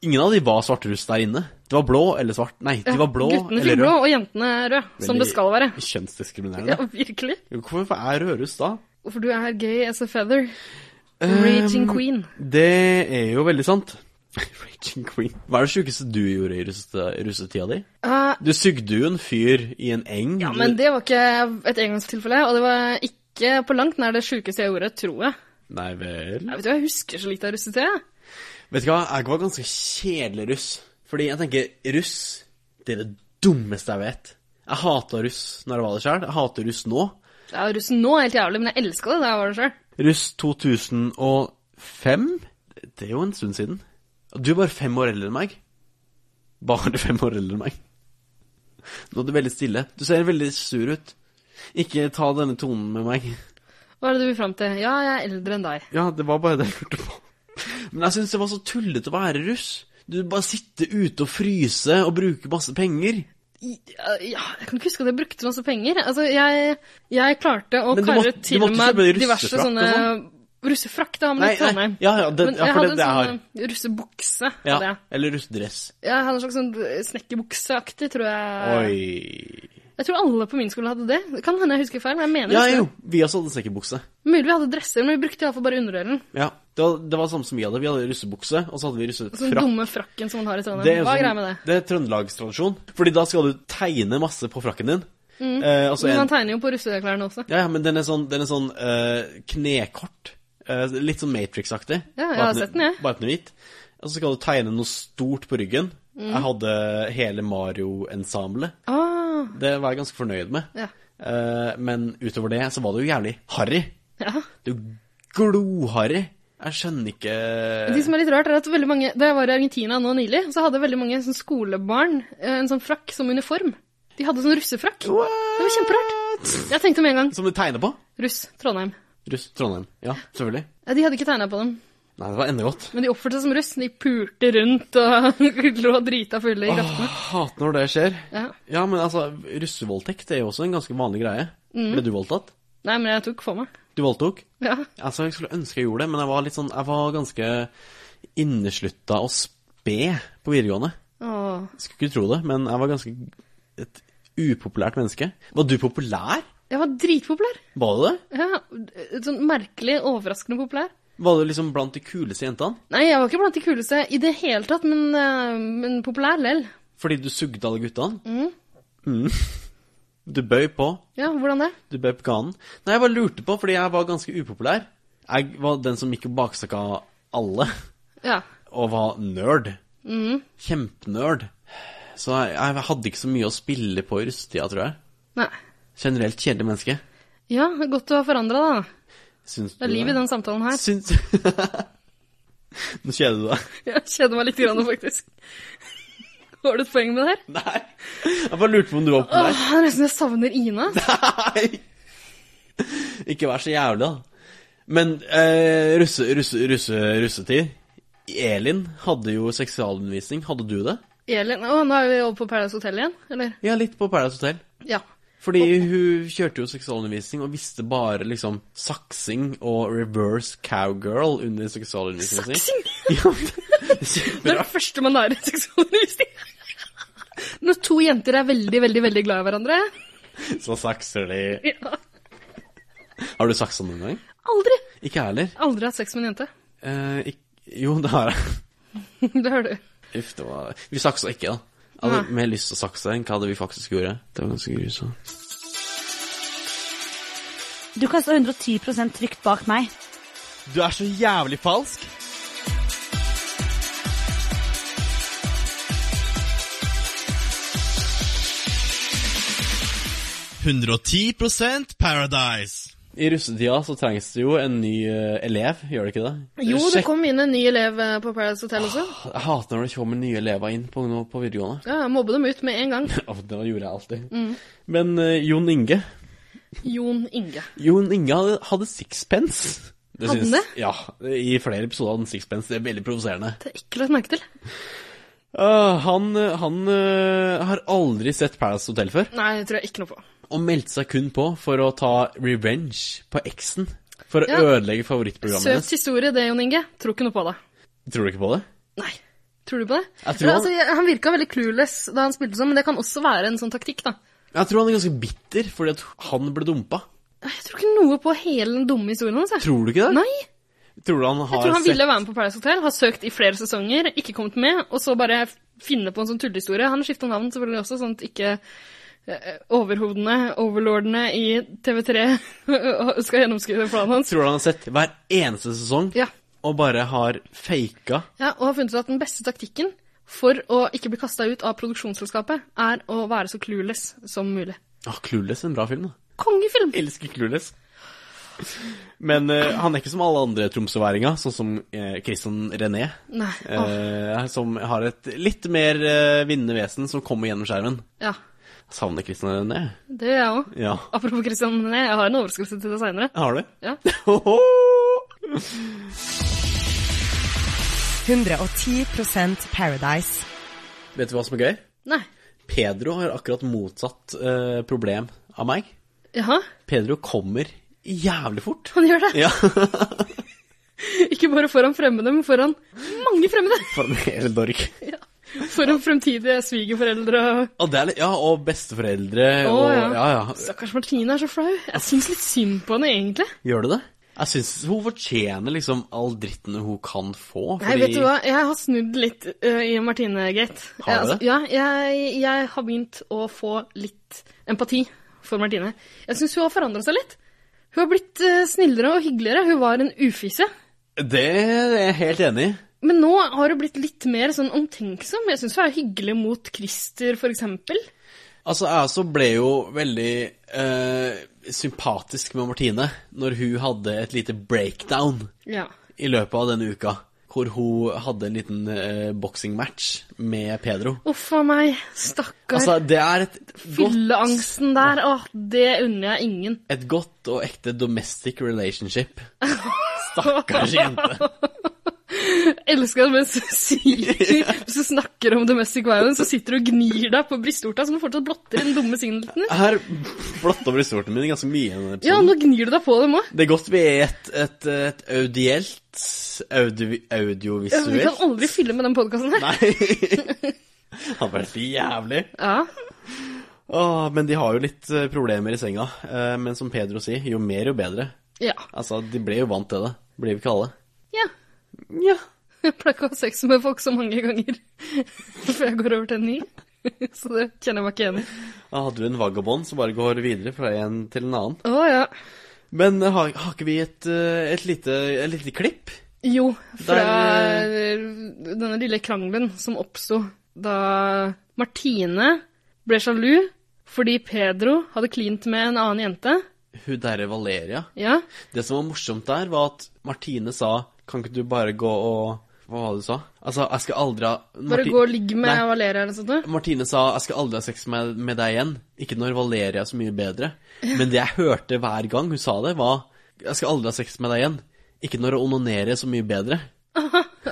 Speaker 1: Ingen av de var svarteruss der inne. De var blå eller svart. Nei, de var blå
Speaker 3: Guttene fikk
Speaker 1: eller
Speaker 3: blå,
Speaker 1: rød.
Speaker 3: og jentene rød, som
Speaker 1: Veldig
Speaker 3: det skal være. Ja,
Speaker 1: Kjønnsdiskriminerende.
Speaker 3: virkelig.
Speaker 1: Hvorfor er rødruss da?
Speaker 3: For du er gay as a feather. Raging queen.
Speaker 1: Ehm, Det er jo veldig sant. Raging Queen. Hva er det sjukeste du gjorde i russete- russetida di?
Speaker 3: Eh,
Speaker 1: Du sugde jo en fyr i en eng.
Speaker 3: ja, men det var ikke et engangstilfelle, og det var ikke på langt nær det sjukeste jeg gjorde, tror jeg.
Speaker 1: Nei vel.
Speaker 3: Jeg vet du, jeg husker så litt av russetida. jeg.
Speaker 1: Vet du hva, jeg var ganske kjedelig russ. Fordi jeg tenker, russ, det er det dummeste jeg vet. Jeg hata russ når jeg var det sjøl. Jeg hater russ nå.
Speaker 3: Ja, russen nå er helt jævlig, men jeg elska det da jeg var det sjøl.
Speaker 1: Russ 2005? Det er jo en stund siden. Og Du er bare fem år eldre enn meg. Bare fem år eldre enn meg. Nå er du veldig stille. Du ser veldig sur ut. Ikke ta denne tonen med meg.
Speaker 3: Hva er det du vil fram til? Ja, jeg er eldre enn deg.
Speaker 1: Ja, det var bare det jeg lurte på. Men jeg syns det var så tullete å være russ. Du bare sitter ute og fryser og bruker masse penger.
Speaker 3: Ja, jeg kan ikke huske at jeg brukte masse penger. Altså, jeg, jeg klarte å
Speaker 1: Men du
Speaker 3: karre
Speaker 1: måtte- du
Speaker 3: til
Speaker 1: måtte
Speaker 3: meg
Speaker 1: kjøpe
Speaker 3: diverse
Speaker 1: russefrakk og sånn.
Speaker 3: sånne Russefrakk, det har man i
Speaker 1: Nei, nei,
Speaker 3: Trondheim.
Speaker 1: ja, ja, det-
Speaker 3: men
Speaker 1: ja,
Speaker 3: jeg
Speaker 1: for
Speaker 3: hadde
Speaker 1: det-
Speaker 3: en
Speaker 1: det
Speaker 3: sånn eh, russebukse.
Speaker 1: Ja,
Speaker 3: hadde Jeg.
Speaker 1: eller russedress.
Speaker 3: jeg hadde en slags sånn snekkerbukseaktig, tror jeg.
Speaker 1: Oi.
Speaker 3: Jeg tror alle på min skole hadde det. Det kan hende jeg husker feil, men jeg mener
Speaker 1: Ja,
Speaker 3: ikke det.
Speaker 1: jo. Vi også hadde snekkerbukse.
Speaker 3: Mulig vi hadde dresser, men vi brukte iallfall bare underdelen.
Speaker 1: Ja. Det var det var det samme som vi hadde. Vi hadde russebukse, og så hadde vi
Speaker 3: Sånn
Speaker 1: russefrakk.
Speaker 3: dumme frakken som man har i
Speaker 1: Det er,
Speaker 3: Trondheim.
Speaker 1: jo
Speaker 3: Hva er
Speaker 1: sånn-
Speaker 3: greia med det?
Speaker 1: det er trøndelagstradisjon. Fordi da skal du tegne masse på frakken din. Eh, altså
Speaker 3: Mm. Men
Speaker 1: en-
Speaker 3: man tegner jo på russeklærne også.
Speaker 1: Ja, ja, men den er sånn, den er sånn eh, knekort. Eh, litt sånn Matrix-aktig.
Speaker 3: Ja,
Speaker 1: Bare
Speaker 3: jeg har
Speaker 1: at
Speaker 3: sett den, jeg.
Speaker 1: Bare at den er hvit. Og så skal du tegne noe stort på ryggen.
Speaker 3: Mm.
Speaker 1: Jeg hadde hele Mario-ensemblet.
Speaker 3: Ah,
Speaker 1: Det var jeg ganske fornøyd med.
Speaker 3: Ja.
Speaker 1: Eh, men utover det så var det jo jævlig harry.
Speaker 3: ja.
Speaker 1: Det er jo gloharry. Jeg skjønner ikke Eh.
Speaker 3: Det som er litt rart, er at veldig mange Da jeg var i Argentina nå nylig, så hadde veldig mange sånn skolebarn eh, en sånn frakk som uniform. De hadde sånn russefrakk. Det var kjemperart. Jeg tenkte med en gang
Speaker 1: Som du tegner på?
Speaker 3: russ Trondheim.
Speaker 1: Russ Trondheim. Ja, selvfølgelig.
Speaker 3: Ja, de hadde ikke tegna på dem,
Speaker 1: Nei, det var endegodt.
Speaker 3: men de oppførte seg som russ. De pulte rundt og lå drita fulle i
Speaker 1: Åh,
Speaker 3: gassene.
Speaker 1: hater når det skjer.
Speaker 3: Ja.
Speaker 1: Ja, men altså, russevoldtekt er jo også en ganske vanlig greie.
Speaker 3: Mm.
Speaker 1: Ble du voldtatt?
Speaker 3: Nei, men jeg tok for meg.
Speaker 1: Du voldtok?
Speaker 3: Ja.
Speaker 1: Altså, jeg skulle ønske jeg gjorde det, men jeg var litt sånn Jeg var ganske inneslutta og sped på videregående.
Speaker 3: Åh.
Speaker 1: Skulle ikke tro det, men jeg var ganske et upopulært menneske. Var du populær?
Speaker 3: Jeg var dritpopulær.
Speaker 1: Var du det?
Speaker 3: Ja, sånn merkelig, overraskende populær.
Speaker 1: Var du liksom blant de kuleste jentene?
Speaker 3: Nei, jeg var ikke blant de kuleste i det hele tatt, men, eh, men populær lell.
Speaker 1: Fordi du sugde alle guttene? Mm. Du bøy på.
Speaker 3: Ja, hvordan det?
Speaker 1: Du bøy på ganen. Nei, jeg bare lurte på, fordi jeg var ganske upopulær. Jeg var den som gikk og bakstakka alle.
Speaker 3: Ja.
Speaker 1: og var nerd.
Speaker 3: Mm.
Speaker 1: Kjempenerd. Så jeg, jeg hadde ikke så mye å spille på i russetida, tror jeg.
Speaker 3: Nei.
Speaker 1: Generelt kjedelig menneske.
Speaker 3: Ja, godt du har forandra, da.
Speaker 1: Syns du
Speaker 3: Det er liv i den samtalen her.
Speaker 1: Syns Nå kjeder du deg.
Speaker 3: Jeg kjeder meg litt, grann, faktisk. Har du et poeng med det her?
Speaker 1: Nei. Jeg bare lurte på om du var
Speaker 3: Åh,
Speaker 1: populær.
Speaker 3: det er nesten jeg savner Ina. ass.
Speaker 1: Nei! Ikke vær så jævlig, da. Men eh, russe, russe, russe, russetid Elin hadde jo seksualundervisning. Hadde du det?
Speaker 3: Elin Å, nå er vi over på Paradise Hotel igjen, eller?
Speaker 1: Ja, litt på Paradise Hotel.
Speaker 3: Ja.
Speaker 1: Fordi hun kjørte jo seksualundervisning og visste bare liksom saksing og reverse cowgirl under seksualundervisningen sin.
Speaker 3: Saksing!
Speaker 1: Ja, det er
Speaker 3: Det er det
Speaker 1: kjemperart.
Speaker 3: første man lærer i seksualundervisning. Når to jenter er veldig, veldig veldig glad i hverandre.
Speaker 1: Så sakser de.
Speaker 3: Ja.
Speaker 1: Har du saksa noen gang?
Speaker 3: Aldri!
Speaker 1: Ikke jeg heller.
Speaker 3: Aldri hatt sex med en jente.
Speaker 1: Eh, ikk- jo, det har jeg.
Speaker 3: Det hører du.
Speaker 1: Uff, det var Vi saksa ikke, da. Jeg hadde mer lyst til å sakse enn hva det vi faktisk gjorde. Det var ganske grusomt.
Speaker 5: Du kan stå 110 trygt bak meg.
Speaker 1: Du er så jævlig falsk!
Speaker 7: Paradise.
Speaker 1: I russetida så trengs det jo en ny eh, elev, gjør det ikke det?
Speaker 3: Jo, det
Speaker 1: Sjekk-
Speaker 3: kom inn en ny elev eh, på Paradise Hotel også.
Speaker 1: Jeg hater når det kommer nye elever inn på, ungdom- på videregående.
Speaker 3: Ja, jeg mobbe dem ut med en gang.
Speaker 1: Ja, det gjorde jeg alltid.
Speaker 3: Mm.
Speaker 1: Men eh, Jon Inge
Speaker 3: Jon Inge.
Speaker 1: Jon Inge hadde, hadde sixpence. Det
Speaker 3: Hadde
Speaker 1: syns-
Speaker 3: han det?
Speaker 1: Ja, i flere episoder hadde han sixpence. Det er veldig provoserende.
Speaker 3: Det er ekkelt å merke til.
Speaker 1: Øh, han øh, han øh, har aldri sett Palace Hotel før,
Speaker 3: Nei, det tror jeg ikke noe på.
Speaker 1: og meldte seg kun på for å ta revenge på eksen. For å
Speaker 3: Ja.
Speaker 1: ødelegge favorittprogrammet
Speaker 3: Søt
Speaker 1: hennes.
Speaker 3: historie, det, Jon Inge. Tror ikke noe på det.
Speaker 1: Tror du ikke på det?
Speaker 3: Nei. Tror du på det?
Speaker 1: Jeg tror han-
Speaker 3: altså, jeg- han virka veldig clueless da han spilte sånn, men det kan også være en sånn taktikk, da.
Speaker 1: Jeg tror han er ganske bitter fordi at han ble dumpa.
Speaker 3: Jeg tror ikke noe på hele den dumme historien hans. jeg.
Speaker 1: Tror du ikke det?
Speaker 3: Nei.
Speaker 1: Tror du han har
Speaker 3: Jeg tror han
Speaker 1: sett
Speaker 3: ville være med på Paradise Hotel, har søkt i flere sesonger, ikke kommet med, og så bare finne på en sånn tullehistorie. Han skifta navn selvfølgelig også, sånn at ikke eh, overhodene, overlordene i TV3 skal gjennomskue planen hans.
Speaker 1: Tror du han har sett hver eneste sesong
Speaker 3: Ja.
Speaker 1: og bare har faka
Speaker 3: Ja, og har funnet ut at den beste taktikken for å ikke bli kasta ut av produksjonsselskapet, er å være så clueless som mulig.
Speaker 1: Ja, Clueless er en bra film, da.
Speaker 3: Kongefilm!
Speaker 1: Elsker Clueless. Men eh, han er ikke som alle andre tromsøværinger, sånn som eh, Christian René,
Speaker 3: Nei. Åh,
Speaker 1: eh, som har et litt mer eh, vinnende vesen som kommer gjennom skjermen.
Speaker 3: ja.
Speaker 1: Jeg savner Christian René.
Speaker 3: Det gjør jeg òg.
Speaker 1: Ja.
Speaker 3: Apropos Christian René, jeg har en overraskelse til deg seinere.
Speaker 1: Har du?
Speaker 3: Ja.
Speaker 4: 110 Paradise.
Speaker 1: Vet du hva som er gøy?
Speaker 3: Nei.
Speaker 1: Pedro har akkurat motsatt eh, problem av meg.
Speaker 3: Jaha,
Speaker 1: Pedro kommer jævlig fort.
Speaker 3: han gjør det.
Speaker 1: Ja,
Speaker 3: Ikke bare foran fremmede, men foran mange fremmede.
Speaker 1: for en hel dork.
Speaker 3: Ja. For om fremtidige svigerforeldre og
Speaker 1: Og det er, litt- ja, og besteforeldre
Speaker 3: Å,
Speaker 1: og
Speaker 3: ja.
Speaker 1: ja, ja.
Speaker 3: Stakkars Martine er så flau. Jeg syns litt synd på henne, egentlig.
Speaker 1: Gjør du det? Jeg syns hun fortjener liksom all dritten hun kan få. Fordi...
Speaker 3: Nei, vet du hva, jeg har snudd litt øh, i Martine-gate.
Speaker 1: Har du det?
Speaker 3: altså, Ja, jeg, jeg har begynt å få litt empati for Martine. Jeg syns hun har forandra seg litt. Hun har blitt øh, snillere og hyggeligere. Hun var en ufise.
Speaker 1: Det er jeg helt enig i.
Speaker 3: Men nå har hun blitt litt mer sånn omtenksom. Jeg syns hun er hyggelig mot Christer, for eksempel.
Speaker 1: Altså, jeg også ble jo veldig eh, sympatisk med Martine når hun hadde et lite breakdown
Speaker 3: Ja.
Speaker 1: i løpet av denne uka. Hvor hun hadde en liten eh, boksingmatch med Pedro.
Speaker 3: Uff a meg, stakkar.
Speaker 1: Altså, det er et godt,
Speaker 3: Fylleangsten der, åh, det unner jeg ingen.
Speaker 1: et godt og ekte domestic relationship. Stakkars jente.
Speaker 3: elsker det mens du sier Hvis du snakker om domestic violence, så sitter du og gnir deg på brystorta, som du fortsatt blotter den dumme singleton.
Speaker 1: Jeg har blotta brystvorten min ganske mye i denne episoden.
Speaker 3: Ja, nå gnir du deg på dem òg.
Speaker 1: Det er godt vi er et, et, et audielt audi, Audiovisuelt.
Speaker 3: Vi kan aldri fylle med den podkasten her.
Speaker 1: Nei. Det hadde vært jævlig.
Speaker 3: Ja.
Speaker 1: Åh, men de har jo litt eh, problemer i senga. Eh, Men som Pedro sier, jo mer, jo bedre.
Speaker 3: ja.
Speaker 1: Altså, de ble jo vant til det. Blir vi ikke alle?
Speaker 3: Ja. Jeg pleier ikke å ha sex med folk så mange ganger før jeg går over til en ny. Så det kjenner jeg meg ikke igjen i.
Speaker 1: Da hadde du en vagabond som bare går videre fra en til en annen.
Speaker 3: Å ja.
Speaker 1: Men eh, har, har ikke vi et, eh, et, lite, et lite klipp?
Speaker 3: Jo, fra
Speaker 1: Der,
Speaker 3: denne lille krangelen som oppsto da Martine ble sjalu fordi Pedro hadde klint med en annen jente.
Speaker 1: Hun derre Valeria.
Speaker 3: Ja.
Speaker 1: Det som var morsomt der, var at Martine sa Kan ikke du bare gå og Hva var det du sa? Altså, jeg skal aldri ha
Speaker 3: Bare
Speaker 1: Marti-
Speaker 3: gå og ligge med
Speaker 1: Nei.
Speaker 3: Valeria eller noe sånt. noe.
Speaker 1: Martine sa 'jeg skal aldri ha sex med, med deg igjen'. Ikke når Valeria er så mye bedre. Men det jeg hørte hver gang hun sa det, var 'jeg skal aldri ha sex med deg igjen'. Ikke når å onanere er så mye bedre.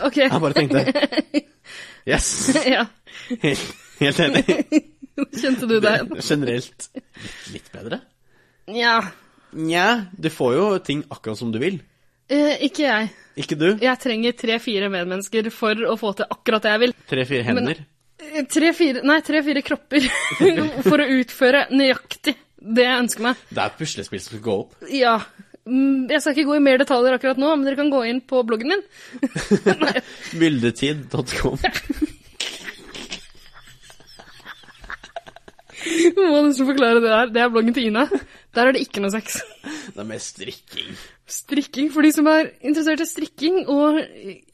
Speaker 3: Ok.
Speaker 1: Jeg bare tenkte Yes!
Speaker 3: Ja.
Speaker 1: Helt, helt enig.
Speaker 3: Kjente du deg igjen?
Speaker 1: Generelt litt- litt bedre.
Speaker 3: Nja.
Speaker 1: Nja, du får jo ting akkurat som du vil.
Speaker 3: Eh, ikke jeg.
Speaker 1: Ikke du?
Speaker 3: Jeg trenger tre-fire medmennesker for å få til akkurat det jeg vil.
Speaker 1: Tre-fire hender.
Speaker 3: Eh, Tre-fire Nei, tre-fire kropper for å utføre nøyaktig det jeg ønsker meg.
Speaker 1: Det er et puslespill som skal gå opp.
Speaker 3: Ja. Mm, Jeg skal ikke gå i mer detaljer akkurat nå, men dere kan gå inn på bloggen min. Nei.
Speaker 1: Myldetid.com.
Speaker 3: Jeg Må nesten forklare det der. Det er bloggen til Ina. Der er det ikke noe sex.
Speaker 1: Det er med strikking.
Speaker 3: Strikking. For de som er interessert i strikking, og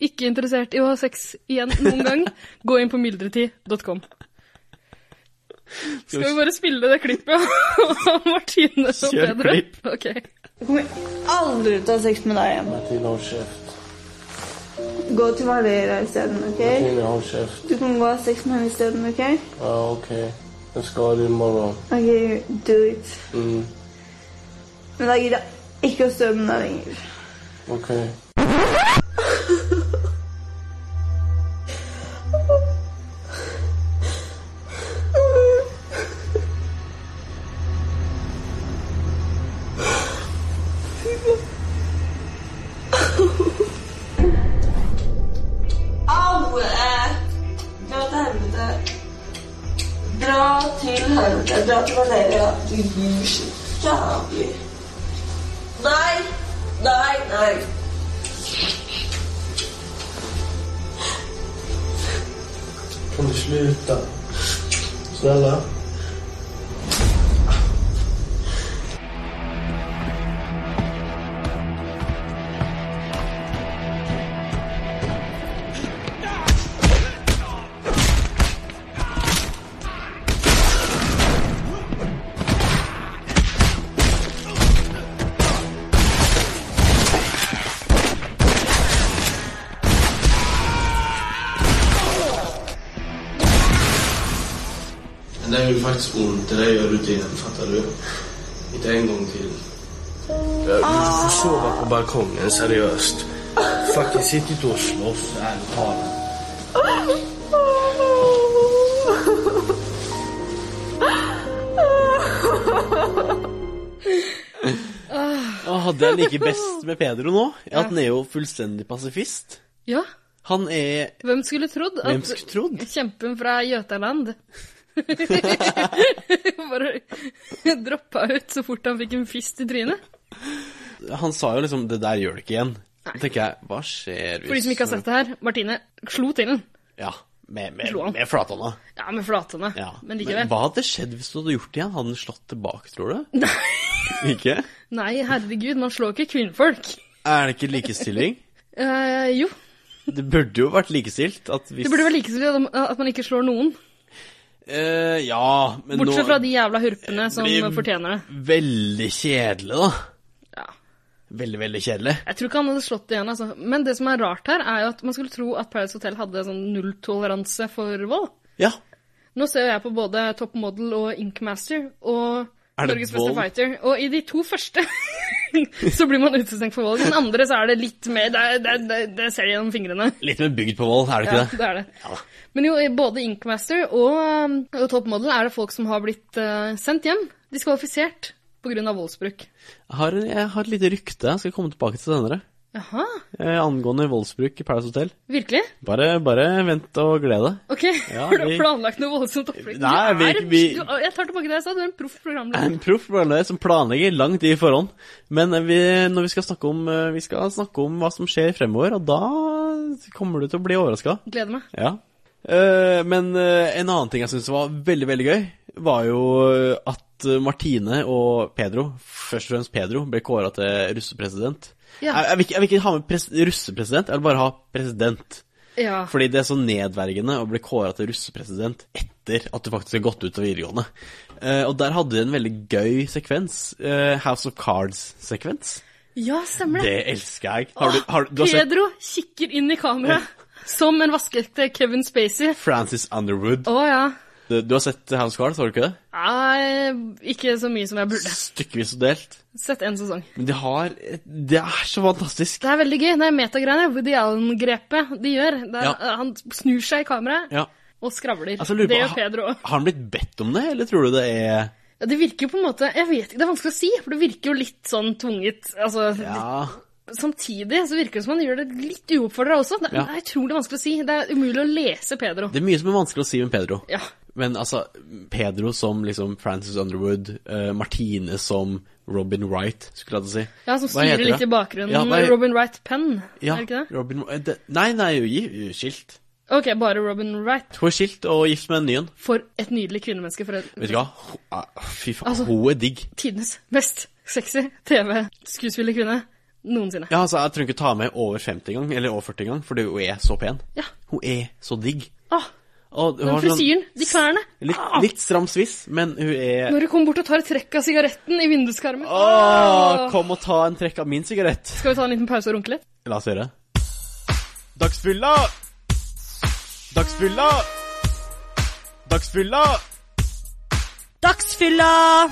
Speaker 3: ikke interessert i å ha sex igjen noen gang, gå inn på myldretid.com. Skal vi bare spille det klippet av Martine og
Speaker 1: Kjør
Speaker 3: Pedro?
Speaker 1: klipp.
Speaker 3: Ok.
Speaker 7: kommer aldri til å ha sex med deg igjen.
Speaker 8: Martine, hold kjeft.
Speaker 7: Gå til Valeria isteden, OK?
Speaker 8: Martine, hold kjeft.
Speaker 7: Du kan gå og ha sex med henne isteden, OK?
Speaker 8: Ja, ok. Jeg skal i morgen.
Speaker 7: OK, do it.
Speaker 8: Mm,
Speaker 7: Men da gidder jeg ikke å stå med deg lenger.
Speaker 8: ok.
Speaker 7: Au! eh, Dra til helvete. Dra til helvete. Dra til Valeria. Du gir så jævlig. Nei! Nei, nei.
Speaker 8: Kan du sluta? Snälla? Det där gjorde faktiskt ont. Det där gör du inte igen, fattar du? Inte en gång till. Jag vill sova på balkongen, seriöst. Fucking sitt inte och slåss, ärligt talat.
Speaker 1: Åh, det jeg liker best med Pedro nå, er at han er jo fullstendig pasifist.
Speaker 3: Ja.
Speaker 1: Han er
Speaker 3: Hvem skulle trodd at
Speaker 1: Hvem skulle trodd?
Speaker 3: kjempen fra Jøtaland bare droppa ut så fort han fikk en fist i trynet?
Speaker 1: Han sa jo liksom 'det der gjør det ikke igjen'. Da tenker jeg, hva skjer hvis
Speaker 3: For de som ikke har sett det her, Martine slo til den.
Speaker 1: Ja, med, med,
Speaker 3: Slo han.
Speaker 1: med flathånda.
Speaker 3: Ja, med flathånda,
Speaker 1: Ja.
Speaker 3: men likevel.
Speaker 1: hva hadde skjedd hvis du hadde gjort det igjen? Hadde den slått tilbake, tror du? Nei. Ikke?
Speaker 3: Nei, herregud, man slår ikke kvinnfolk.
Speaker 1: Er det ikke likestilling?
Speaker 3: Eh, jo,
Speaker 1: Det burde jo vært likestilt. At hvis,
Speaker 3: det burde være likestilt at man ikke slår noen.
Speaker 1: Eh, ja, men
Speaker 3: Bortsett
Speaker 1: nå
Speaker 3: fra de jævla hurpene som
Speaker 1: blir-
Speaker 3: fortjener det.
Speaker 1: Veldig kjedelig, da.
Speaker 3: Ja.
Speaker 1: Veldig, veldig kjedelig.
Speaker 3: Jeg tror ikke han hadde slått det igjen, altså. Men det som er rart her, er jo at man skulle tro at Paradise Hotel hadde sånn nulltoleranse for vold.
Speaker 1: Ja.
Speaker 3: Nå ser jo jeg på både Top Model og Inkmaster og
Speaker 1: Er det
Speaker 3: Norges beste
Speaker 1: vold?
Speaker 3: fighter. Og i de to første så blir man utestengt for vold. I den andre så er det litt mer Det, er- det, er- det, det ser de gjennom fingrene.
Speaker 1: Litt mer bygd på vold, er det
Speaker 3: Ja,
Speaker 1: ikke det?
Speaker 3: det er det. Men jo, i både Inkmaster og, um, og Top Model er det folk som har blitt eh, sendt hjem, diskvalifisert, pga. voldsbruk.
Speaker 1: Jeg har, jeg har et lite rykte jeg skal komme tilbake til senere,
Speaker 3: Jaha,
Speaker 1: eh, angående voldsbruk i Paradise Hotel.
Speaker 3: virkelig?
Speaker 1: Bare, bare vent og gled deg.
Speaker 3: Ok,
Speaker 1: Ja,
Speaker 3: har du
Speaker 1: vi-
Speaker 3: planlagt noe voldsomt opplegg? Du
Speaker 1: Nei, vi-
Speaker 3: er en-
Speaker 1: vi-
Speaker 3: du, jeg tar tilbake det jeg sa, du er en proff programleder.
Speaker 1: En proff programleder som planlegger langt i forhånd. Men vi, når vi skal snakke om eh, Vi skal snakke om hva som skjer fremover, og da kommer du til å bli overraska.
Speaker 3: Gleder meg.
Speaker 1: Ja. Eh, men eh, en annen ting jeg syntes var veldig, veldig gøy, var jo eh, at eh, Martine og Pedro, først og fremst Pedro, ble kåra til russepresident.
Speaker 3: Ja.
Speaker 1: Jeg, jeg, vil ikke, jeg vil ikke ha med pres russepresident, jeg vil bare ha president.
Speaker 3: Ja.
Speaker 1: Fordi det er så nedverdigende å bli kåra til russepresident etter at du faktisk har gått ut av videregående. Eh, og der hadde de en veldig gøy sekvens. eh, House of Cards-sekvens.
Speaker 3: ja, stemmer det.
Speaker 1: Det elsker jeg. Har du, har, du har sett
Speaker 3: Pedro kikker inn i kameraet som en vaskeekte Kevin Spacey.
Speaker 1: Frances Underwood.
Speaker 3: Å ja.
Speaker 1: Du, du har sett House of Cards, har du ikke det?
Speaker 3: Nei, ikke så mye som jeg burde.
Speaker 1: Stykkevis og delt.
Speaker 3: Sett en sesong.
Speaker 1: Men de har Det er så fantastisk.
Speaker 3: Det er veldig gøy. Det er metagreiene. Woody Allen-grepet de gjør. Det er,
Speaker 1: Ja.
Speaker 3: Han snur seg i kameraet
Speaker 1: Ja.
Speaker 3: og skravler.
Speaker 1: Altså, lurer på,
Speaker 3: det gjør
Speaker 1: ha-
Speaker 3: Pedro òg.
Speaker 1: Har han blitt bedt om det, eller tror du det er
Speaker 3: Ja, det virker jo på en måte Jeg vet ikke, det er vanskelig å si, for det virker jo litt sånn tvunget. Altså,
Speaker 1: Ja.
Speaker 3: Samtidig så virker det som han gjør det litt uoppfordra også. Det,
Speaker 1: Ja.
Speaker 3: det er utrolig vanskelig å si. Det er umulig å lese Pedro.
Speaker 1: Det er mye som er vanskelig å si med Pedro.
Speaker 3: Ja.
Speaker 1: Men altså, Pedro som liksom Frances Underwood, eh, Martine som Robin Wright, skulle jeg til å si.
Speaker 3: Ja, som
Speaker 1: Hva
Speaker 3: styrer
Speaker 1: heter
Speaker 3: litt
Speaker 1: det?
Speaker 3: i bakgrunnen.
Speaker 1: Ja, hva-
Speaker 3: Robin Wright Penn,
Speaker 1: Ja,
Speaker 3: er det ikke det?
Speaker 1: Robin, eh, det? Nei, nei, hun er gi- hun er skilt.
Speaker 3: Ok, bare Robin Wright.
Speaker 1: Hun er skilt og gift med en ny en.
Speaker 3: For et nydelig kvinnemenneske. For et
Speaker 1: Vet du hva? Hun- ah, Fy faen,
Speaker 3: Altså-
Speaker 1: hun er digg.
Speaker 3: tidenes mest sexy TV-skuespillerkvinne noensinne.
Speaker 1: Ja, altså, Jeg tror ikke ta med over 50 gang, eller over 40 gang, fordi hun er så pen.
Speaker 3: Ja.
Speaker 1: Hun er så digg.
Speaker 3: Ah,
Speaker 1: Og hun
Speaker 3: den
Speaker 1: har sånn-
Speaker 3: frisyren, de klærne.
Speaker 1: Litt,
Speaker 3: Ah!
Speaker 1: litt stram sviss, men hun er
Speaker 3: Når du kommer bort og tar et trekk av sigaretten i vinduskarmen.
Speaker 1: Åh,
Speaker 3: Ah.
Speaker 1: kom og ta en trekk av min sigarett.
Speaker 3: Skal vi ta en liten pause og runke litt?
Speaker 1: La oss gjøre det. Dagsfylla! Dagsfylla! Dagsfylla!
Speaker 5: Dagsfylla!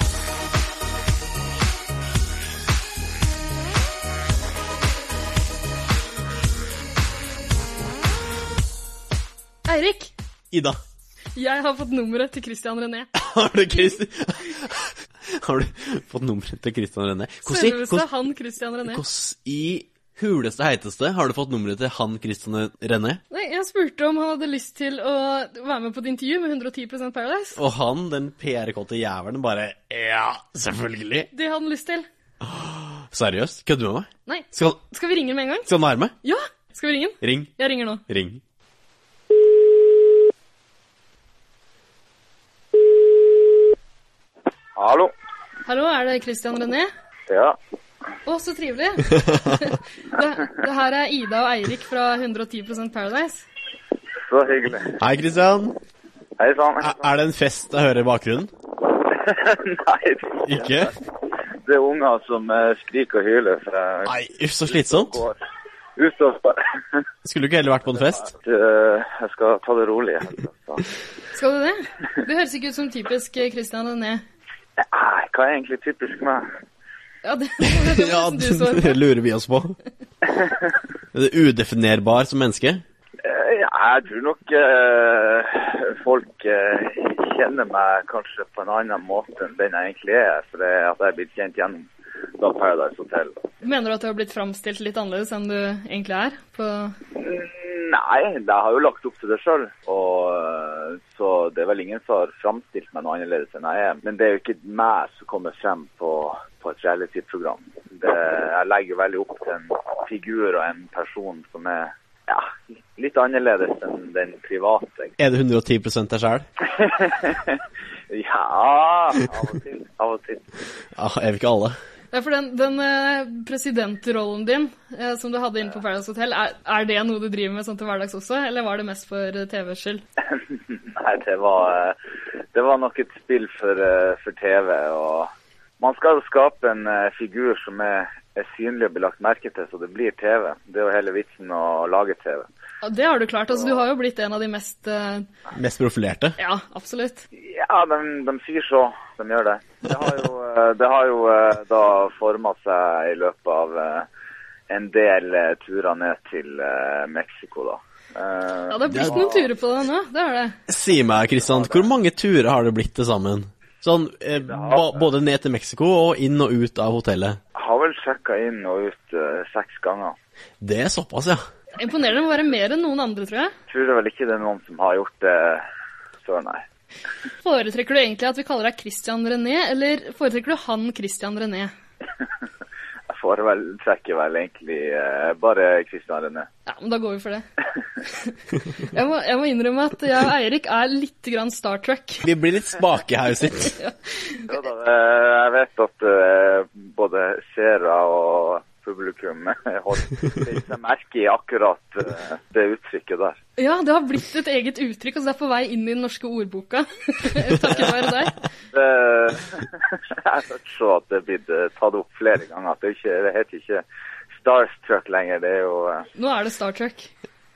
Speaker 3: Eirik,
Speaker 1: Ida,
Speaker 3: jeg har fått nummeret til Christian René.
Speaker 1: har du Christi... Har du fått nummeret til Christian René? Hvordan i-
Speaker 3: Selveste han Christian René.
Speaker 1: hvordan i huleste heiteste har du fått nummeret til han Christian René?
Speaker 3: Nei, jeg spurte om han hadde lyst til å være med på et intervju med 110 Paradise.
Speaker 1: Og han, den PR-kåte jævelen, bare Ja, selvfølgelig!
Speaker 3: Det hadde han lyst til.
Speaker 1: Seriøst? Kødder du med meg?
Speaker 3: Nei,
Speaker 1: Skal,
Speaker 3: skal vi ringe ham med en gang?
Speaker 1: skal han være med?
Speaker 3: Ja, skal vi ringe ham?
Speaker 1: Ring.
Speaker 3: Jeg ringer nå.
Speaker 1: Ring.
Speaker 9: Hallo.
Speaker 3: Hallo, er det Christian René?
Speaker 9: Ja.
Speaker 3: Å, så trivelig. det, det her er Ida og Eirik fra 110 Paradise.
Speaker 9: Så hyggelig.
Speaker 1: Hei, Christian.
Speaker 9: Hei sann.
Speaker 1: Er er det en fest jeg hører i bakgrunnen?
Speaker 9: Nei, det-
Speaker 1: Ikke?
Speaker 9: det er unger som eh, skriker og hyler fra
Speaker 1: Nei, uff, så slitsomt.
Speaker 9: går utover.
Speaker 1: Skulle du ikke heller vært på en fest?
Speaker 9: Eh, Jeg skal ta det rolig. altså. Så.
Speaker 3: Skal du det? Det høres ikke ut som typisk eh, Christian René.
Speaker 9: Nei, Hva er egentlig typisk meg?
Speaker 3: Ja, det, det, det,
Speaker 1: Ja,
Speaker 3: du så.
Speaker 1: det lurer vi oss på. Er det udefinerbar som menneske?
Speaker 9: Eh, ja, Jeg tror nok eh, folk eh, kjenner meg kanskje på en annen måte enn den jeg egentlig er. For det er at jeg er blitt kjent gjennom da Paradise Hotel.
Speaker 3: Mener du at du har blitt framstilt litt annerledes enn du egentlig er? På...
Speaker 9: Mm, Nei, jeg har jo lagt opp til det sjøl. Uh, så det er vel ingen som har framstilt meg noe annerledes enn jeg er. Men det er jo ikke meg som kommer frem på, på et reality-program. Det- Jeg legger jo veldig opp til en figur og en person som er ja, litt annerledes enn den private.
Speaker 1: Er det 110 deg sjæl?
Speaker 9: Ja, av og til. Av og til.
Speaker 1: Ah, er vi ikke alle?
Speaker 3: Ja, for den, den eh, presidentrollen din eh, som du hadde inne på Paradise Hotel, er, er det noe du driver med sånn til hverdags også, eller var det mest for eh, TVs skyld?
Speaker 9: Nei, det var, eh, det var nok et spill for, eh, for TV. og Man skal jo skape en eh, figur som er, er synlig og blir lagt merke til, så det blir TV. Det er jo hele vitsen å lage TV.
Speaker 3: Ja, Det har du klart. Altså, du har jo blitt en av de mest eh,
Speaker 1: Mest profilerte?
Speaker 3: Ja, absolutt.
Speaker 9: Ja, de, de sier så. De gjør det. Det har jo, eh, det har jo eh, da forma seg i løpet av eh, en del eh, turer ned til eh, Mexico, da. Eh,
Speaker 3: Ja, det har blitt noen turer på deg nå. Det har det.
Speaker 1: Si meg, Kristian, hvor mange turer har det blitt til sammen? Sånn, eh, ba, både ned til Mexico og inn og ut av hotellet.
Speaker 9: Har vel sjekka inn og ut eh, seks ganger.
Speaker 1: Det er såpass, ja.
Speaker 3: Imponerende å være mer enn noen andre, tror jeg.
Speaker 9: Tror vel ikke det er noen som har gjort det før, nei.
Speaker 3: Foretrekker du egentlig at vi kaller deg Christian René, eller foretrekker du han Christian René?
Speaker 9: Jeg får vel trekke vel egentlig eh, bare Christian René.
Speaker 3: Ja, men da går vi for det. Jeg må, jeg må innrømme at jeg og Eirik er litt grann Star Trek.
Speaker 1: Vi blir litt spakehauset.
Speaker 9: Ja, da, eh, jeg vet at eh, både seere og publikum holder beit seg merke i akkurat eh, det uttrykket der.
Speaker 3: Ja, det har blitt et eget uttrykk, altså det er på vei inn i den norske ordboka. Takket være deg.
Speaker 9: Det- Jeg hørte så at det er blitt eh, tatt opp flere ganger. at Det, er ikke, det heter ikke Starstruck lenger. Det er jo eh,
Speaker 3: Nå er det Star Trek.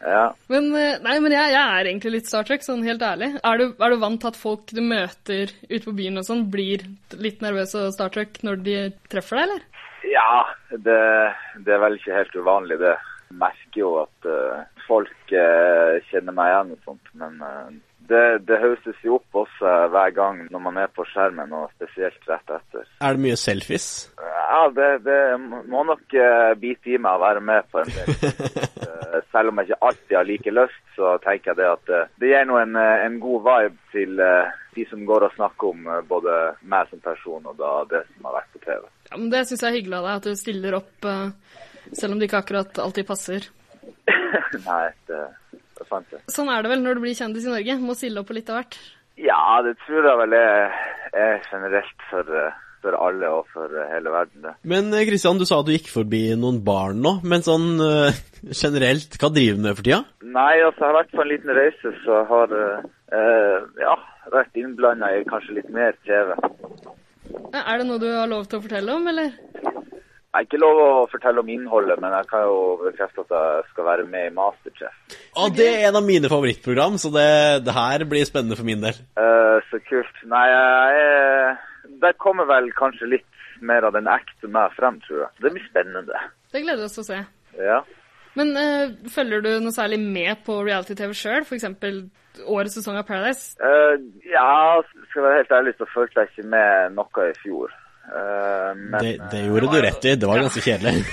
Speaker 9: Ja.
Speaker 3: Men, eh, nei, men jeg, jeg er egentlig litt Star Trek, sånn helt ærlig. Er du, er du vant til at folk du møter ute på byen og sånn, blir litt nervøse og Star Trek når de treffer deg, eller?
Speaker 9: ja det, det er vel ikke helt uvanlig, det. Jeg merker jo at eh, folk eh, kjenner meg igjen og sånt. Men eh, det, det hausses jo opp også hver gang når man er på skjermen, og spesielt rett etter.
Speaker 1: Er det mye selfies?
Speaker 9: Ja, det, det må nok eh, bite i meg å være med på en del. Eh, Selv om jeg ikke alltid har like lyst, så tenker jeg det at eh, det gir nå en, eh, en god vibe til eh, de som går og snakker om eh, både meg som person og da det som har vært på TV.
Speaker 3: Ja, men det syns jeg er hyggelig av deg, at du stiller opp eh, selv om det ikke akkurat alltid passer.
Speaker 9: Nei, det, det er sant det.
Speaker 3: Sånn er det vel når du blir kjendis i Norge. Må stille opp på litt av hvert.
Speaker 9: Ja, det tror jeg vel er, er generelt for, eh, for alle og for eh, hele verden, det.
Speaker 1: Men eh, Kristian, du sa du gikk forbi noen barn nå, men sånn eh, generelt, hva driver du med for tida?
Speaker 9: Nei, altså jeg har vært på en liten reise, så jeg har eh, eh, ja, vært innblanda i kanskje litt mer TV.
Speaker 3: Ja, Eh, Er det noe du har lov til å fortelle om, eller?
Speaker 9: Jeg er ikke lov å fortelle om innholdet, men jeg kan jo bekrefte at jeg skal være med i Masterchef.
Speaker 1: Å, det er en av mine favorittprogram, så det, det her blir spennende for min del.
Speaker 9: Eh, så kult. Nei, jeg er Der kommer vel kanskje litt mer av den ekte meg frem, tror jeg. Det blir spennende.
Speaker 3: Det gleder vi oss til å se.
Speaker 9: Ja.
Speaker 3: Men eh, følger du noe særlig med på reality-TV sjøl? F.eks. årets sesong av Paradise?
Speaker 9: Eh, ja, skal jeg være helt ærlig, så fulgte jeg ikke med noe i fjor. Eh, men,
Speaker 1: Det, det gjorde du rett i, det var ganske kjedelig.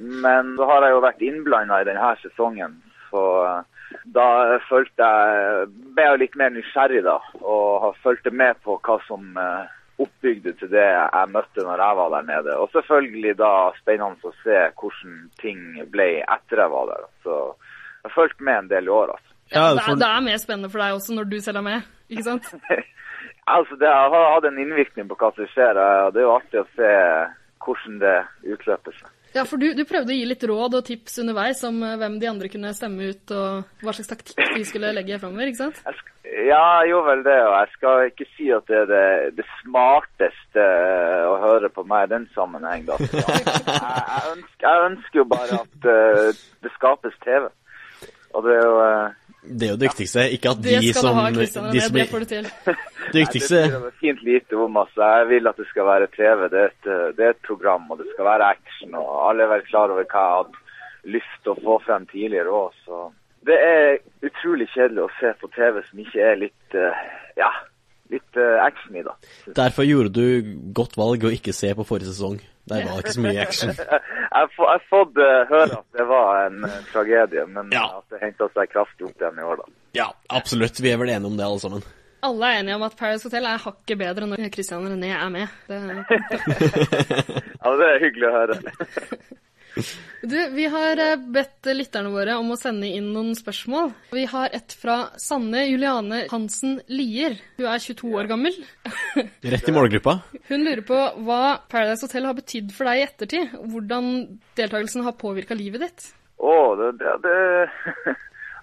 Speaker 9: men så har jeg jo vært innblanda i denne sesongen, så eh, da følte jeg Ble jeg litt mer nysgjerrig, da, og har fulgte med på hva som eh, oppbygde til det jeg møtte når jeg var der nede. Og selvfølgelig da spennende å se hvordan ting ble etter jeg var der. Så jeg har fulgt med en del i år, altså.
Speaker 1: Ja,
Speaker 3: det,
Speaker 1: for-
Speaker 3: er, det er mer spennende for deg også når du selv er med, ikke sant?
Speaker 9: Altså, Det har hatt en innvirkning på hva som skjer, eh, og det er jo artig å se hvordan det utløper seg.
Speaker 3: Ja, for du, du prøvde å gi litt råd og tips underveis om eh, hvem de andre kunne stemme ut, og hva slags taktikk de skulle legge framover, ikke sant?
Speaker 9: Jeg sk- Ja, jeg gjorde vel det, og jeg skal ikke si at det er det, det smarteste eh, å høre på meg i den sammenheng, da. Så Jeg, jeg, ønsker, jeg ønsker jo bare at eh, det skapes TV. Og det er jo eh,
Speaker 1: Det er jo det viktigste, ikke at
Speaker 3: Det
Speaker 1: de
Speaker 3: skal
Speaker 1: som,
Speaker 3: du ha, Kristian.
Speaker 1: de
Speaker 3: Det,
Speaker 1: som
Speaker 3: det
Speaker 1: blir-
Speaker 3: får du til.
Speaker 1: Det
Speaker 9: det
Speaker 1: viktigste
Speaker 9: sier jeg fint lite om. altså. Jeg vil at det skal være TV. Det er et, eh, det er et program, og det skal være action. Og alle er vel klar over hva jeg hadde lyst til å få frem tidligere òg, så Det er utrolig kjedelig å se på TV som ikke er litt eh, Ja, litt eh, action i, da.
Speaker 1: Derfor gjorde du godt valg å ikke se på forrige sesong. Der var det ikke så mye action.
Speaker 9: Jeg har få- jeg har fått eh, høre at det var en eh, tragedie, men
Speaker 1: Ja.
Speaker 9: eh, at det henta seg kraftig opp igjen i år, da.
Speaker 1: Ja, absolutt. Vi er vel enige om det, alle sammen.
Speaker 3: Alle er enige om at Paradise Hotel er hakket bedre når Christian René er med. Det...
Speaker 9: Ja, Det er hyggelig å høre.
Speaker 3: Du, vi har eh, bedt lytterne våre om å sende inn noen spørsmål. Vi har et fra Sanne Juliane Hansen Lier. Hun er 22 år gammel.
Speaker 1: Rett i målgruppa.
Speaker 3: Hun lurer på hva Paradise Hotel har betydd for deg i ettertid. Hvordan deltakelsen har påvirka livet ditt.
Speaker 9: Å, det, det, det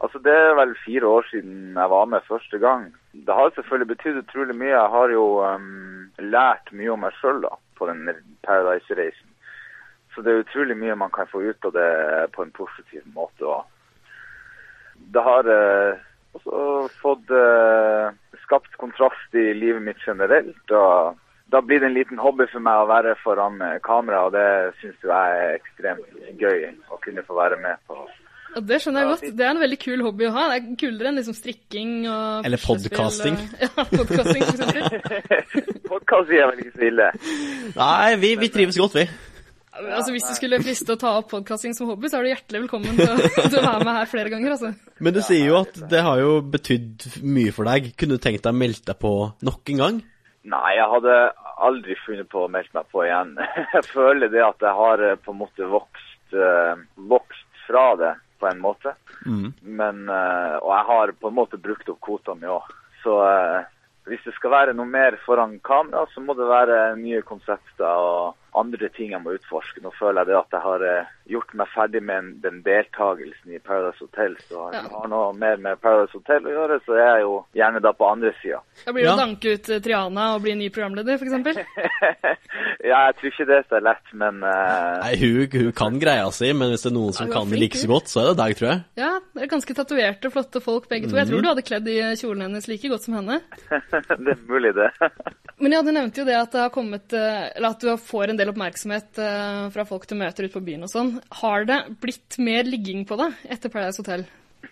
Speaker 9: Altså, det er vel fire år siden jeg var med første gang. Det har selvfølgelig betydd utrolig mye. Jeg har jo ehm, lært mye om meg sjøl på den Paradise-reisen. Så det er utrolig mye man kan få ut av det på en positiv måte. Og det har eh, også fått eh, skapt kontrast i livet mitt generelt. og da blir det en liten hobby for meg å være foran eh, kamera, og det syns jeg er ekstremt gøy å kunne få være med på.
Speaker 3: Og det skjønner jeg godt. Det er en veldig kul hobby å ha. Det er kulere enn liksom strikking og
Speaker 1: Eller
Speaker 3: puslespill
Speaker 1: podcasting.
Speaker 3: og- Ja, podcasting, for eksempel.
Speaker 9: Podkast er vel ikke så ille.
Speaker 1: Nei, vi, vi trives godt, vi.
Speaker 3: Altså, hvis du skulle friste å ta opp podcasting som hobby, så er du hjertelig velkommen til å, til å være med her flere ganger, altså.
Speaker 1: Men du sier jo at det har jo betydd mye for deg. Kunne du tenkt deg å melde deg på nok en gang?
Speaker 9: Nei, jeg hadde aldri funnet på å melde meg på igjen. Jeg føler det at jeg har eh, på en måte vokst, eh, vokst fra det, på en måte.
Speaker 1: Mm.
Speaker 9: Men, eh, og jeg har på en måte brukt opp kvota mi òg. Så eh, hvis det skal være noe mer foran kamera, så må det være nye konsepter og andre ting jeg må utforske. Nå føler jeg det at jeg har eh, gjort meg ferdig med en- den deltakelsen i Paradise Hotel. Så
Speaker 3: Ja.
Speaker 9: jeg har noe mer med Paradise Hotel å gjøre, så er jeg jo gjerne da på andre sida.
Speaker 3: Da blir det
Speaker 1: Ja.
Speaker 3: å danke ut eh, Triana og bli ny programleder, for eksempel.
Speaker 9: Ja, jeg tror ikke det er så lett, men eh,
Speaker 1: Nei, hun, hun kan greia si, men hvis det er noen som
Speaker 3: Ja, hun er
Speaker 1: kan det
Speaker 3: flink,
Speaker 1: like så
Speaker 3: hun.
Speaker 1: godt, så er det deg, tror jeg.
Speaker 3: Ja, det er ganske tatoverte, flotte folk begge to. Jeg
Speaker 1: Mhm.
Speaker 3: tror du hadde kledd i eh, kjolen hennes like godt som henne.
Speaker 9: det er mulig, det.
Speaker 3: Men ja, du nevnte jo det at det har kommet eh, Eller at du får en del oppmerksomhet eh, fra folk du møter ute på byen og sånn. Har det blitt mer ligging på deg etter Paradise Hotel?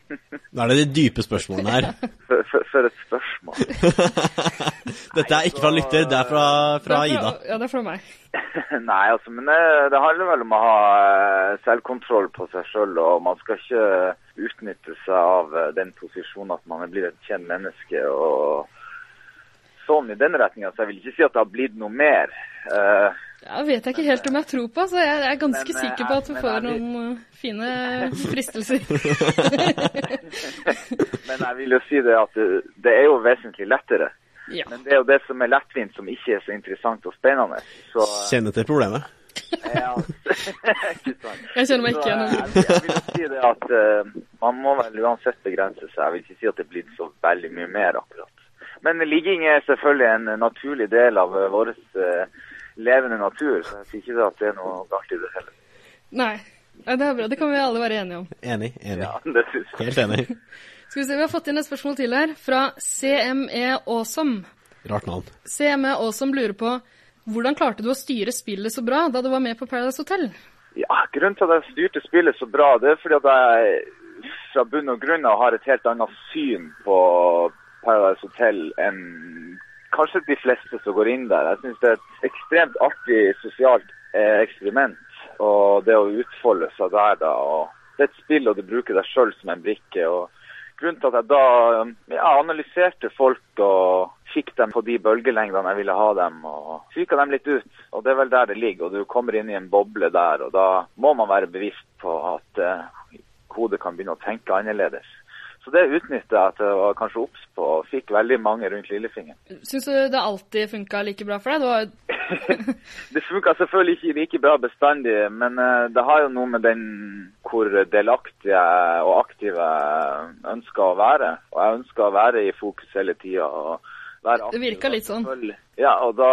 Speaker 1: Nå er det de dype spørsmålene her.
Speaker 9: For, for, for et spørsmål.
Speaker 1: Dette er ikke fra lytter, det er fra, fra
Speaker 3: Det er
Speaker 1: Ida.
Speaker 3: Ja, det er fra meg.
Speaker 9: Nei, altså, men det, det handler vel om å ha eh, selvkontroll på seg sjøl, og man skal ikke utnytte seg av eh, den posisjonen at man er blitt et kjent menneske. og sånn i den retninga, så jeg vil ikke si at det har blitt noe mer. Eh,
Speaker 3: Ja, vet jeg ikke helt om jeg tror på, så jeg er ganske
Speaker 9: Men, eh,
Speaker 3: sikker på at du
Speaker 9: men
Speaker 3: får
Speaker 9: er det-
Speaker 3: noen eh, fine fristelser.
Speaker 9: men jeg vil jo si det at det, det er jo vesentlig lettere.
Speaker 3: Ja.
Speaker 9: Men det er jo det som er lettvint, som ikke er så interessant og spennende. Så eh,
Speaker 1: Kjenner til problemet.
Speaker 9: ja, ikke sant.
Speaker 3: Jeg kjenner meg
Speaker 9: Så,
Speaker 3: ikke igjen.
Speaker 9: eh, Jeg, jeg vil jo si det at eh, man må vel uansett begrense seg. Jeg vil ikke si at det blir så veldig mye mer akkurat. Men ligging er selvfølgelig en eh, naturlig del av eh, vår eh, levende natur. Så jeg sier ikke det at det er noe galt i det heller.
Speaker 3: Nei. Nei, Det er bra. Det kan vi alle være enige om.
Speaker 1: Enig, enig.
Speaker 9: Ja, det synes jeg.
Speaker 1: Helt enig.
Speaker 3: Skal vi se, Vi har fått inn et spørsmål til her, fra E CME Awesome.
Speaker 1: Rart navn.
Speaker 3: CME Awesome E lurer på hvordan klarte du å styre spillet så bra da du var med på Paradise Hotel?
Speaker 9: Ja, grunnen til at jeg styrte spillet så bra, det er fordi at jeg fra bunn og grunn av har et helt annet syn på Paradise Hotel enn kanskje de fleste som går inn der. Jeg syns det er et ekstremt artig sosialt eh, eksperiment. Og det å utfolde seg der, da. og Det er et spill, og du bruker deg sjøl som en brikke. og Grunnen til at jeg da um, ja, analyserte folk og fikk dem på de bølgelengdene jeg ville ha dem, og fyka dem litt ut. Og det er vel der det ligger. Og du kommer inn i en boble der, og da må man være bevisst på at eh, hodet kan begynne å tenke annerledes. Så det utnytta jeg til å være kanskje obs på, og fikk veldig mange rundt lillefingeren.
Speaker 3: Syns du det alltid funka like bra for deg? Det var,
Speaker 9: Det funka selvfølgelig ikke like bra bestandig, men eh, det har jo noe med den hvor delaktige og aktive jeg ønsker å være. Og jeg ønsker å være i fokus hele tida.
Speaker 3: Det virka litt sånn.
Speaker 9: Ja, og da,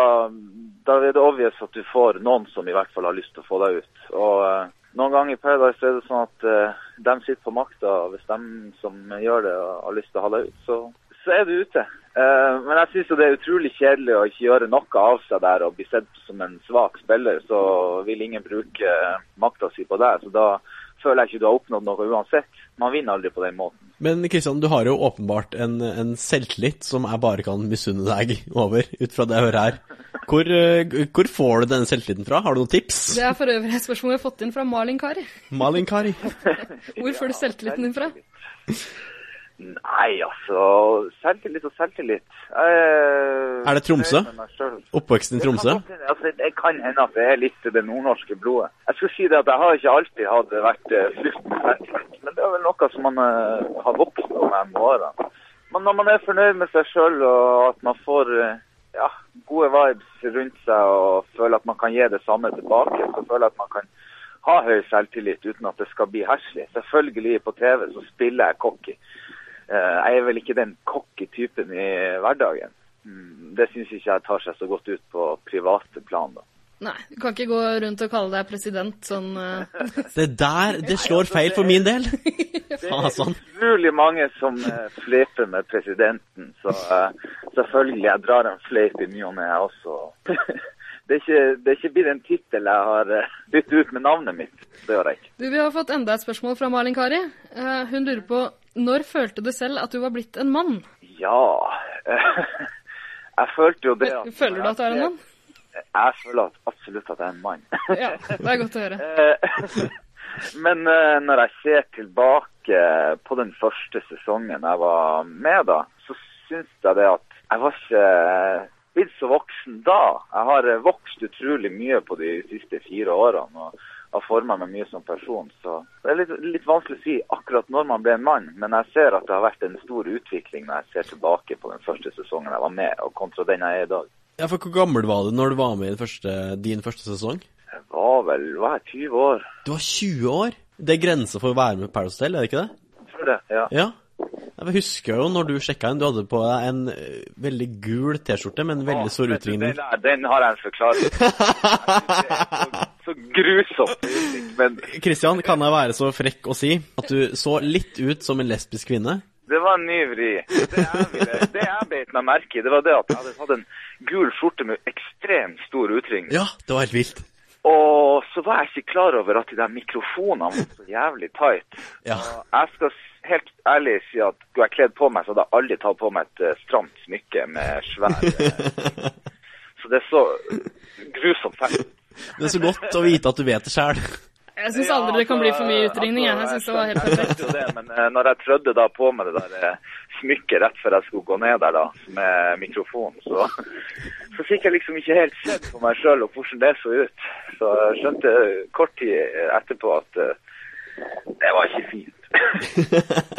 Speaker 9: da er det obvious at du får noen som i hvert fall har lyst til å få deg ut. Og eh, noen ganger i Paradise er det sånn at eh, de sitter på makta, og hvis de som gjør det, har lyst til å ha deg ut, så, så er du ute. Eh, men jeg syns det er utrolig kjedelig å ikke gjøre noe av seg der og eh, bli sett som en svak spiller. Så vil ingen bruke makta si på deg. Så da føler jeg ikke du har oppnådd noe uansett. Man vinner aldri på den måten.
Speaker 1: Men Kristian, du har jo åpenbart en, en selvtillit som jeg bare kan misunne deg over, ut fra det jeg hører her. Hvor, eh, hvor får du denne selvtilliten fra? Har du noen tips?
Speaker 3: Det er for øvrig et spørsmål vi har fått inn fra Malin Kari.
Speaker 1: Malin Kari.
Speaker 3: Hvor får du selvtilliten din fra?
Speaker 9: Nei, altså Selvtillit og selvtillit. Eh,
Speaker 1: Er det Tromsø?
Speaker 9: jeg er meg selv.
Speaker 1: Oppveksten i Tromsø?
Speaker 9: Det kan, godt hende- altså, det kan hende at det er litt det nordnorske blodet. Jeg skulle si det at jeg har ikke alltid hatt vært eh, flust med selvtillit, men det er vel noe som man eh, har vokst på med årene. Men når man er fornøyd med seg sjøl og at man får eh, ja, gode vibes rundt seg og føler at man kan gi det samme tilbake, så føler jeg at man kan ha høy selvtillit uten at det skal bli herselig. Selvfølgelig, på TV så spiller jeg cocky. Eh, Jeg er vel ikke den cocky typen i hverdagen. Mm, Det syns ikke jeg tar seg så godt ut på private plan. da.
Speaker 3: Nei, du kan ikke gå rundt og kalle deg president sånn eh,
Speaker 1: Det der, det slår feil for min del.
Speaker 3: Ah,
Speaker 1: Faen, sånn.
Speaker 9: Utrolig mange som eh, fleiper med presidenten, så eh, selvfølgelig, jeg drar en fleip i ny og ne, jeg også. Det er ikke, det er ikke blitt en tittel jeg har eh, byttet ut med navnet mitt. Det gjør jeg ikke.
Speaker 3: Du, vi har fått enda et spørsmål fra Malin Kari. Eh, hun lurer på når følte du selv at du var blitt en mann?
Speaker 9: Ja Jeg følte jo det at
Speaker 3: Føler du at du er en mann?
Speaker 9: Jeg føler at absolutt at jeg er en mann.
Speaker 3: Ja, det er godt å høre.
Speaker 9: Eh, Men eh, når jeg ser tilbake på den første sesongen jeg var med da, så syns jeg det at jeg var ikke eh, blitt så voksen da. Jeg har eh, vokst utrolig mye på de siste fire årene og har forma meg mye som person. Så det er litt, litt vanskelig å si akkurat når man ble en mann, men jeg ser at det har vært en stor utvikling når jeg ser tilbake på den første sesongen jeg var med, og kontra den jeg er i dag.
Speaker 1: Ja, for Hvor gammel var du når du var med i den første, din første sesong?
Speaker 9: Jeg var vel var jeg 20 år
Speaker 1: Du var 20 år. Det er grensa for å være med i Paradise Hotel, er det ikke det?
Speaker 9: før det. ja.
Speaker 1: Ja. Jeg husker jo når du sjekka inn, du hadde på deg en eh, veldig gul T-skjorte med en veldig stor
Speaker 9: Vet du,
Speaker 1: utringning.
Speaker 9: Den, der, den har jeg en forklaring. på. Så grusomt uttrykk, men
Speaker 1: Kristian, kan jeg være så frekk å si at du så litt ut som en lesbisk kvinne?
Speaker 9: det var en ny vri. Det jeg, ville, det jeg beit meg merke i, det var det at jeg hadde hatt en gul skjorte med ekstremt stor utringning.
Speaker 1: Ja, det var helt vilt.
Speaker 9: Og så var jeg ikke klar over at de der mikrofonene var så jævlig tight.
Speaker 1: Ja.
Speaker 9: Og Jeg skal s- helt ærlig si at skulle jeg kledd på meg, så hadde jeg aldri tatt på meg et eh, stramt smykke med svær eh, Så det er så grusomt feil.
Speaker 1: Det er så godt å vite at du vet det sjæl.
Speaker 3: Jeg syns aldri det kan bli for mye utringning. Jeg, jeg syns det var helt
Speaker 9: eh, altså, Jeg
Speaker 3: perfekt.
Speaker 9: tenkte jo det, men eh, når jeg trødde da på med det der eh, smykket rett før jeg skulle gå ned der da, med mikrofonen, så, så fikk jeg liksom ikke helt sett på meg sjøl og hvordan det så ut. Så jeg skjønte kort tid etterpå at eh, det var ikke fint.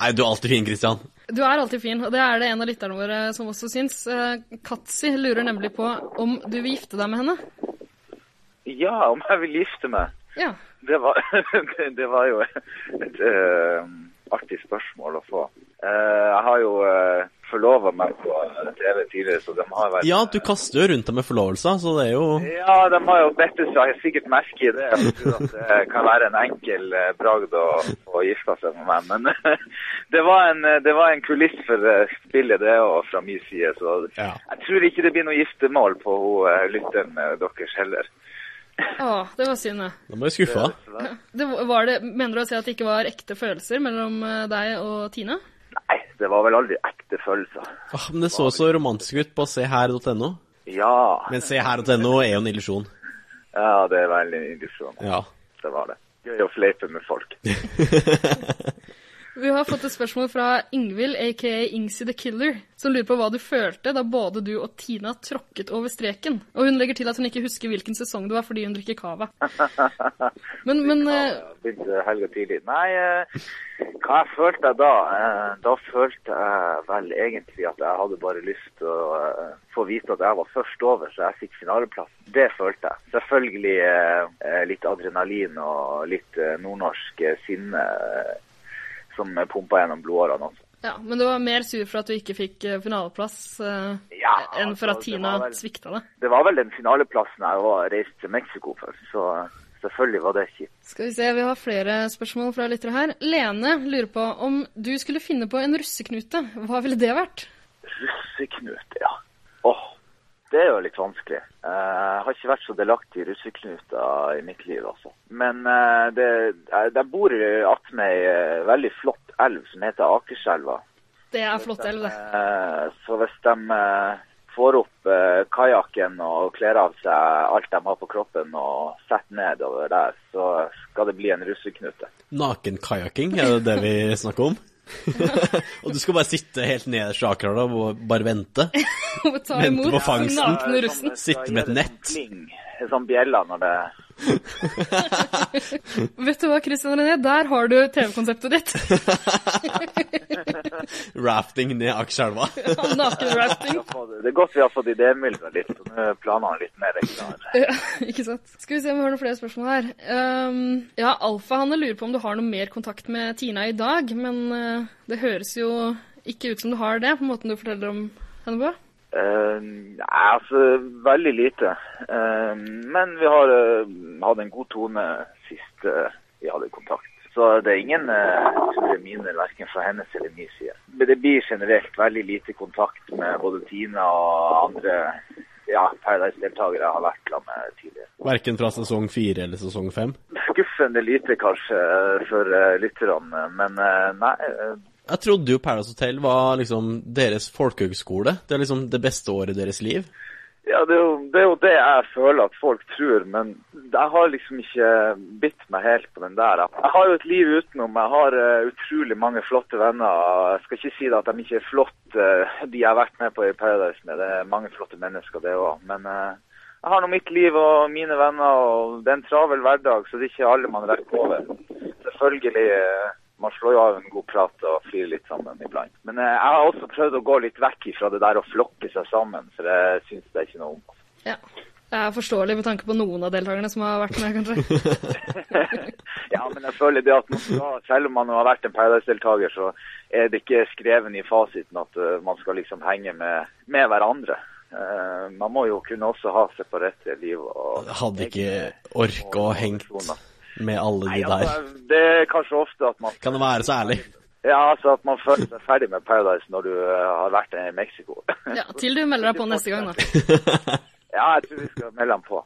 Speaker 1: Nei, du er alltid fin, Kristian.
Speaker 3: Du er alltid fin, og det er det en av lytterne våre som også syns. Eh, Katzy lurer nemlig på om du vil gifte deg med henne.
Speaker 9: Ja, om jeg vil gifte meg.
Speaker 3: Ja.
Speaker 9: Det var, det, det var jo et eh, artig spørsmål å få. Eh, jeg har jo uh, forlova meg på eh, TV tidligere, så de har vært
Speaker 1: Ja, du kaster jo rundt deg med forlovelser, så det er jo
Speaker 9: Ja, de har jo bedt seg, jeg har sikkert merke i det. Jeg tror at det kan være en enkel eh, bragd å, å gifte seg med meg. Men det var en, eh, det var en kuliss for eh, spillet, det og fra min side. Så
Speaker 1: Ja.
Speaker 9: jeg tror ikke det blir noe giftermål på hun, eh, lytteren eh, deres heller.
Speaker 3: Å, det var synd, det.
Speaker 1: Da må jeg skuffe. deg.
Speaker 3: det. var- Var det mener du å si at det ikke var ekte følelser mellom eh, deg og Tine?
Speaker 9: Nei, det var vel aldri ekte følelser.
Speaker 1: Ah, men det så så romantisk ut på seher.no.
Speaker 9: Ja,
Speaker 1: Men seher.no er jo en illusjon.
Speaker 9: ja det er veldig illusjon.
Speaker 1: Ja.
Speaker 9: Det var det. Gøy å fleipe med folk.
Speaker 3: Vi har fått et spørsmål fra Ingvild, aka Ingsy the Killer, som lurer på hva du følte da både du og Tina tråkket over streken. Og hun legger til at hun ikke husker hvilken sesong det var fordi hun drikker cava. Men, men eh,
Speaker 9: Ja, Begynte helga tidlig. Nei, eh, hva jeg følte jeg da? Eh, Da følte jeg vel egentlig at jeg hadde bare lyst til å eh, få vite at jeg var først over, så jeg fikk finaleplass. Det følte jeg. Selvfølgelig eh, eh, litt adrenalin og litt eh, nordnorsk eh, sinne eh, som pumpa gjennom blodårene også.
Speaker 3: ja, men du var mer sur for at du ikke fikk eh, finaleplass eh,
Speaker 9: Ja,
Speaker 3: enn for at
Speaker 9: altså, det
Speaker 3: Tina
Speaker 9: var vel-
Speaker 3: svikta deg.
Speaker 9: Det var vel den finaleplassen jeg var reist til Mexico for, så eh, selvfølgelig var det kjipt.
Speaker 3: Skal vi se, vi har flere spørsmål fra lyttere her. Lene lurer på om du skulle finne på en russeknute, hva ville det vært?
Speaker 9: Russeknut, ja. Åh, det er jo litt vanskelig. Eh, Jeg har ikke vært så delaktig i russeknuta i mitt liv, altså. Men eh, det, jeg, jeg bor attmed ei eh, veldig flott elv som heter Akerselva.
Speaker 3: Det er flott elv, det.
Speaker 9: Eh, Så hvis de eh, får opp eh, kajakken og kler av seg alt de har på kroppen og setter nedover der, så skal det bli en russeknute.
Speaker 1: Nakenkajakking, er det det vi snakker om? og du skal bare sitte helt nederst i Akerselva og bare vente?
Speaker 3: Å ta
Speaker 1: Vente
Speaker 3: imot
Speaker 1: på fangsten.
Speaker 3: nakne russen.
Speaker 1: Sitte med et nett.
Speaker 9: Pling, sånn bjeller når det
Speaker 3: Vet du hva, Christian René, der har du TV-konseptet ditt.
Speaker 1: Rafting ned Akerselva?
Speaker 3: Nakenrafting.
Speaker 9: Det er godt vi har fått idémyldra litt, og nå er planene litt mer klare.
Speaker 3: Ja, ikke sant. Skal vi se om vi har noen flere spørsmål her. Ehm, ja, Alfahanne lurer på om du har noe mer kontakt med Tina i dag, men eh, det høres jo ikke ut som du har det, på måten du forteller om henne på.
Speaker 9: Eh, Nei, altså veldig lite. Eh, men vi har eh, hatt en god tone sist eh, vi hadde kontakt. Så det er ingen eh, store miner verken fra hennes eller min side. Men det blir generelt veldig lite kontakt med både Tina og andre ja, Paradise-deltakere jeg har vært sammen med tidligere.
Speaker 1: Verken fra sesong fire eller sesong fem?
Speaker 9: Skuffende lite kanskje eh, for eh, lytterne, men eh, nei. eh,
Speaker 1: Jeg trodde jo Paradise Hotel var liksom deres folkehøgskole. Det er liksom det beste året i deres liv.
Speaker 9: Ja, det er, jo, det er jo det jeg føler at folk tror, men jeg har liksom ikke bitt meg helt på den der. Jeg har jo et liv utenom. Jeg har eh, utrolig mange flotte venner. Jeg skal ikke si da at de ikke er flotte, eh, de jeg har vært med på i Paradise med. Det er mange flotte mennesker, det òg. Men eh, jeg har nå mitt liv og mine venner, og det er en travel hverdag, så det er ikke alle man rekker over. Selvfølgelig. eh, Man slår jo av en god prat og flirer litt sammen iblant. Men eh, jeg har også prøvd å gå litt vekk ifra det der å flokke seg sammen, for jeg syns det er ikke noe om.
Speaker 3: Ja. Det er forståelig med tanke på noen av deltakerne som har vært med, kanskje.
Speaker 9: Ja, men jeg føler det at man skal, selv om man har vært en Paradise-deltaker, så er det ikke skreven i fasiten at eh, man skal liksom henge med, med hverandre. Eh, man må jo kunne også ha separate liv. Og
Speaker 1: Hadde ikke orka å hengt med alle
Speaker 9: Nei,
Speaker 1: de der.
Speaker 9: altså, det er kanskje ofte at man
Speaker 1: Kan jeg være så ærlig?
Speaker 9: Ja, altså at man føler seg ferdig med Paradise når du eh, har vært i Mexico.
Speaker 3: Ja, til du melder deg på neste gang, da.
Speaker 9: ja, jeg tror vi skal melde ham på.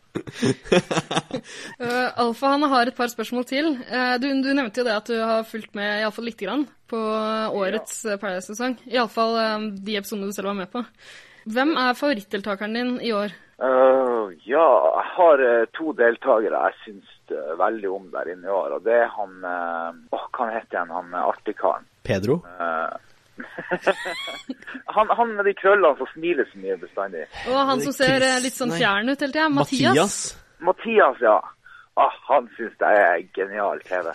Speaker 3: Uh, Alfahanne har et par spørsmål til. Eh, du, du nevnte jo det at du har fulgt med iallfall lite grann på årets eh, Paradise-sesong. Iallfall uh, de episodene du selv var med på. Hvem er favorittdeltakeren din i år?
Speaker 9: Øh, ja, jeg har eh, to deltakere jeg syns eh, veldig om der inne i år. Og det er han eh, Åh, hva han heter han? Han eh, artige karen.
Speaker 1: Pedro?
Speaker 9: Han, han med de krøllene som smiler så mye bestandig.
Speaker 3: Og han som ser eh, litt sånn
Speaker 1: Nei.
Speaker 3: fjern ut hele tida. Mathias.
Speaker 1: Mathias?
Speaker 9: Mathias, ja. Ah, han syns jeg er genial TV.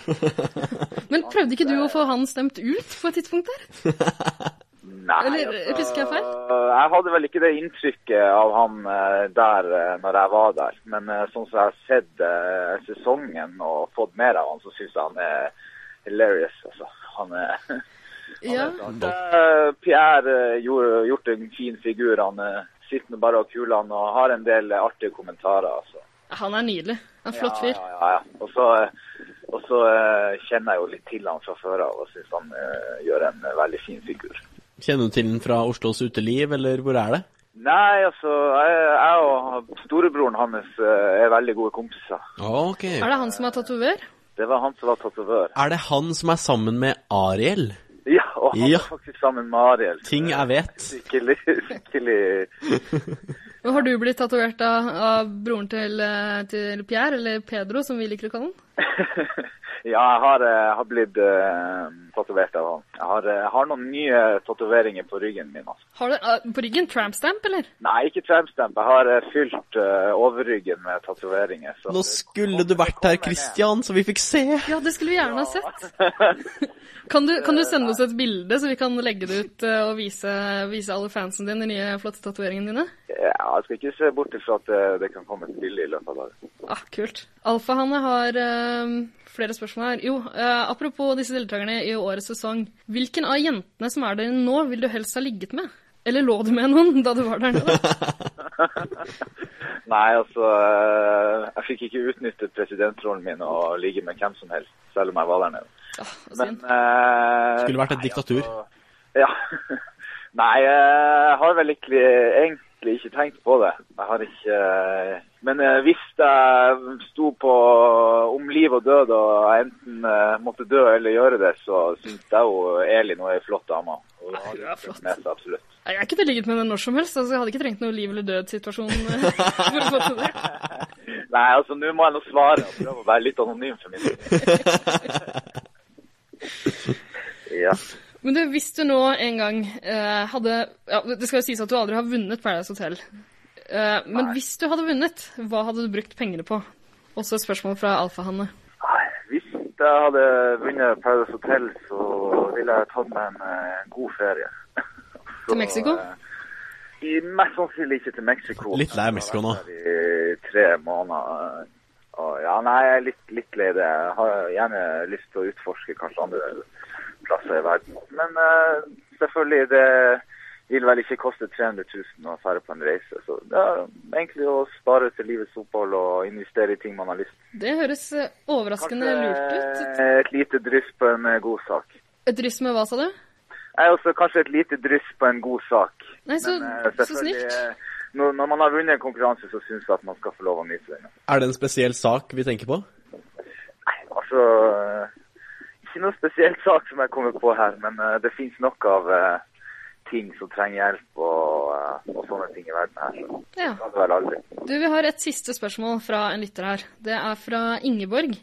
Speaker 3: Men prøvde ikke du å få han stemt ut på et tidspunkt der?
Speaker 9: Nei,
Speaker 3: Eller, husker jeg feil?
Speaker 9: øh, Jeg hadde vel ikke det inntrykket av han eh, der eh, når jeg var der. Men eh, sånn som jeg har sett eh, sesongen og fått mer av han, så syns jeg han er hilarious, altså. Han er
Speaker 3: Ja.
Speaker 9: Eh, Pierre eh, gjorde, gjort en fin figur. Han eh, sitter med bare og kuler han og har en del eh, artige kommentarer. Altså.
Speaker 3: Han er nydelig. En flott
Speaker 9: Ja,
Speaker 3: fyr.
Speaker 9: ja, ja, ja. Og så, eh, og så eh, kjenner jeg jo litt til han fra før av og syns han eh, gjør en eh, veldig fin figur.
Speaker 1: Kjenner du til den fra Oslos uteliv, eller hvor er det?
Speaker 9: Nei, altså, jeg, jeg og storebroren hans eh, er veldig gode kompiser.
Speaker 1: Ok.
Speaker 3: Er det han som er tatover?
Speaker 9: Det var han som var tatovør.
Speaker 1: Er det han som er sammen med Ariel?
Speaker 9: Ja, og han
Speaker 1: Ja.
Speaker 9: er faktisk sammen med Ariel.
Speaker 1: Ting jeg vet.
Speaker 9: Skikkelig, skikkelig
Speaker 3: Og har du blitt tatovert av, av broren til, eh, til Pierre, eller Pedro, som vi liker å kalle han?
Speaker 9: Ja, jeg har, eh, har blitt uh, tatovert av han. Jeg har, eh, har noen nye tatoveringer på ryggen min. Altså.
Speaker 3: Har du eh, på ryggen tramp stamp, eller?
Speaker 9: Nei, ikke trampstamp. Jeg har eh, fylt eh, overryggen med tatoveringer. så-
Speaker 1: Nå skulle du vært her, Christian, så vi fikk se.
Speaker 3: Ja, det skulle vi gjerne ha sett. Kan du, kan du sende oss et bilde, så vi kan legge det ut eh, og vise, vise alle fansen din de nye flotte tatoveringene dine?
Speaker 9: Ja, jeg skal ikke se bort ifra at eh, det kan komme et bilde i løpet av dagen.
Speaker 3: Ah, kult. Alfahanne har eh, flere spørsmål her. Jo, eh, apropos disse deltakerne i årets sesong. Hvilken av jentene som er der nå, vil du helst ha ligget med? Eller lå du med noen da du var der nede?
Speaker 9: Nei, altså eh, Jeg fikk ikke utnyttet presidentrollen min og ligge med hvem som helst, selv om jeg var der nede.
Speaker 3: Ah,
Speaker 9: Men
Speaker 3: synd.
Speaker 9: eh,
Speaker 1: Skulle vært et
Speaker 9: nei,
Speaker 1: diktatur.
Speaker 9: altså, ja. Nei, eh, jeg har vel ikke egentlig egentlig ikke tenkt på det. Jeg har ikke eh, Men eh, hvis jeg sto på om liv og død og jeg enten eh, måtte dø eller gjøre det, så syns jeg jo Elin hun er ei flott dame. Og hun har
Speaker 3: hun er
Speaker 9: det
Speaker 3: flott.
Speaker 9: med seg, absolutt.
Speaker 3: Nei, Jeg kunne ligget med den når som helst, altså jeg hadde ikke trengt noe liv eller død-situasjon. eh, for å få til det.
Speaker 9: Nei, altså, nå må jeg nå svare og prøve å være litt anonym for min del. Ja.
Speaker 3: Men du, hvis du nå en gang eh, hadde ja, Det skal jo sies at du aldri har vunnet Paradise Hotel. Eh, men hvis du hadde vunnet, hva hadde du brukt pengene på? Også et spørsmål fra Alfahanne.
Speaker 9: Nei, Hvis jeg hadde vunnet Paradise Hotel, så ville jeg tatt meg en eh, god ferie. Så,
Speaker 3: Til Mexico?
Speaker 9: eh, i- Mest sannsynlig ikke til Mexico.
Speaker 1: Litt lei Mexico nå.
Speaker 9: Jeg har vært der I tre måneder. eh, Og, ja, nei, jeg er litt, litt lei det. Jeg har gjerne lyst til å utforske kanskje andre plasser i verden. Men eh, selvfølgelig, det vil vel ikke koste 300 000 å fære på en reise. Så det er egentlig å spare til livets opphold og investere i ting man har lyst til.
Speaker 3: Det høres eh, overraskende lurt ut.
Speaker 9: Kanskje et lite dryss på en eh, god sak.
Speaker 3: Et dryss med hva, sa du?
Speaker 9: Jeg er også kanskje et lite dryss på en god sak.
Speaker 3: Nei, så,
Speaker 9: Men, eh,
Speaker 3: så
Speaker 9: selvfølgelig,
Speaker 3: snilt.
Speaker 9: eh, Når, når man har vunnet en konkurranse, så syns jeg at man skal få lov å nyte den.
Speaker 1: Er det en spesiell sak vi tenker på?
Speaker 9: Nei, altså eh, Ikke noe spesielt sak som jeg kommer på her, men eh, det fins nok av eh, ting som trenger hjelp og, eh, og sånne ting i verden her. Så
Speaker 3: Ja.
Speaker 9: det hadde vel aldri.
Speaker 3: Du, vi har et siste spørsmål fra en lytter her. Det er fra Ingeborg.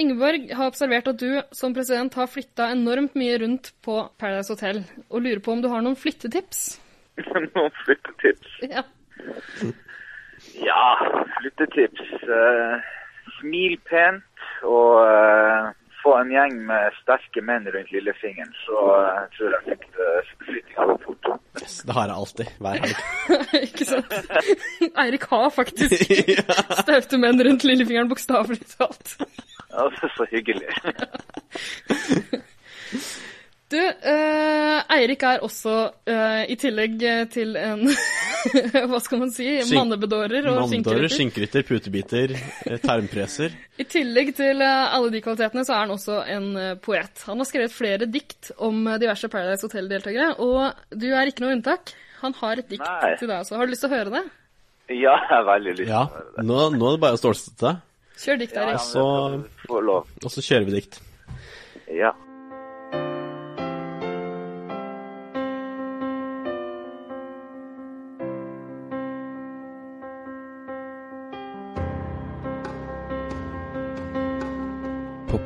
Speaker 3: Ingeborg har observert at du som president har flytta enormt mye rundt på Paradise Hotel, og lurer på om du har noen flyttetips?
Speaker 9: Noen flyttetips.
Speaker 3: Ja.
Speaker 9: Ja, flyttetips. Eh, smil pent og eh, få en gjeng med sterke menn rundt lillefingeren, så eh, tror jeg flytt, uh, flyttinga går fort.
Speaker 1: Yes, det har jeg alltid, hver helg.
Speaker 3: Ikke sant? Eirik har faktisk staute menn rundt lillefingeren, bokstavelig talt.
Speaker 9: Ja, det er så hyggelig.
Speaker 3: Du, eh, Eirik er også, eh, i tillegg eh, til en Hva skal man si?
Speaker 1: Skink-
Speaker 3: Mannebedårer og
Speaker 1: Manndårer,
Speaker 3: skinkerytter.
Speaker 1: skinkrytter, putebiter, eh, tarmpreser.
Speaker 3: I tillegg til eh, alle de kvalitetene, så er han også en eh, poet. Han har skrevet flere dikt om eh, diverse Paradise Hotel-deltakere, og du er ikke noe unntak. Han har et dikt
Speaker 9: Nei.
Speaker 3: til deg også. Har du lyst til å høre det?
Speaker 9: Ja, jeg har veldig lyst til
Speaker 1: Ja,
Speaker 9: å høre det.
Speaker 1: nå, nå er det bare å stålsette seg,
Speaker 3: Kjør dikt,
Speaker 9: Ja,
Speaker 3: Eirik.
Speaker 1: så-
Speaker 9: men Få lov.
Speaker 1: og så kjører vi dikt.
Speaker 9: Ja.
Speaker 1: På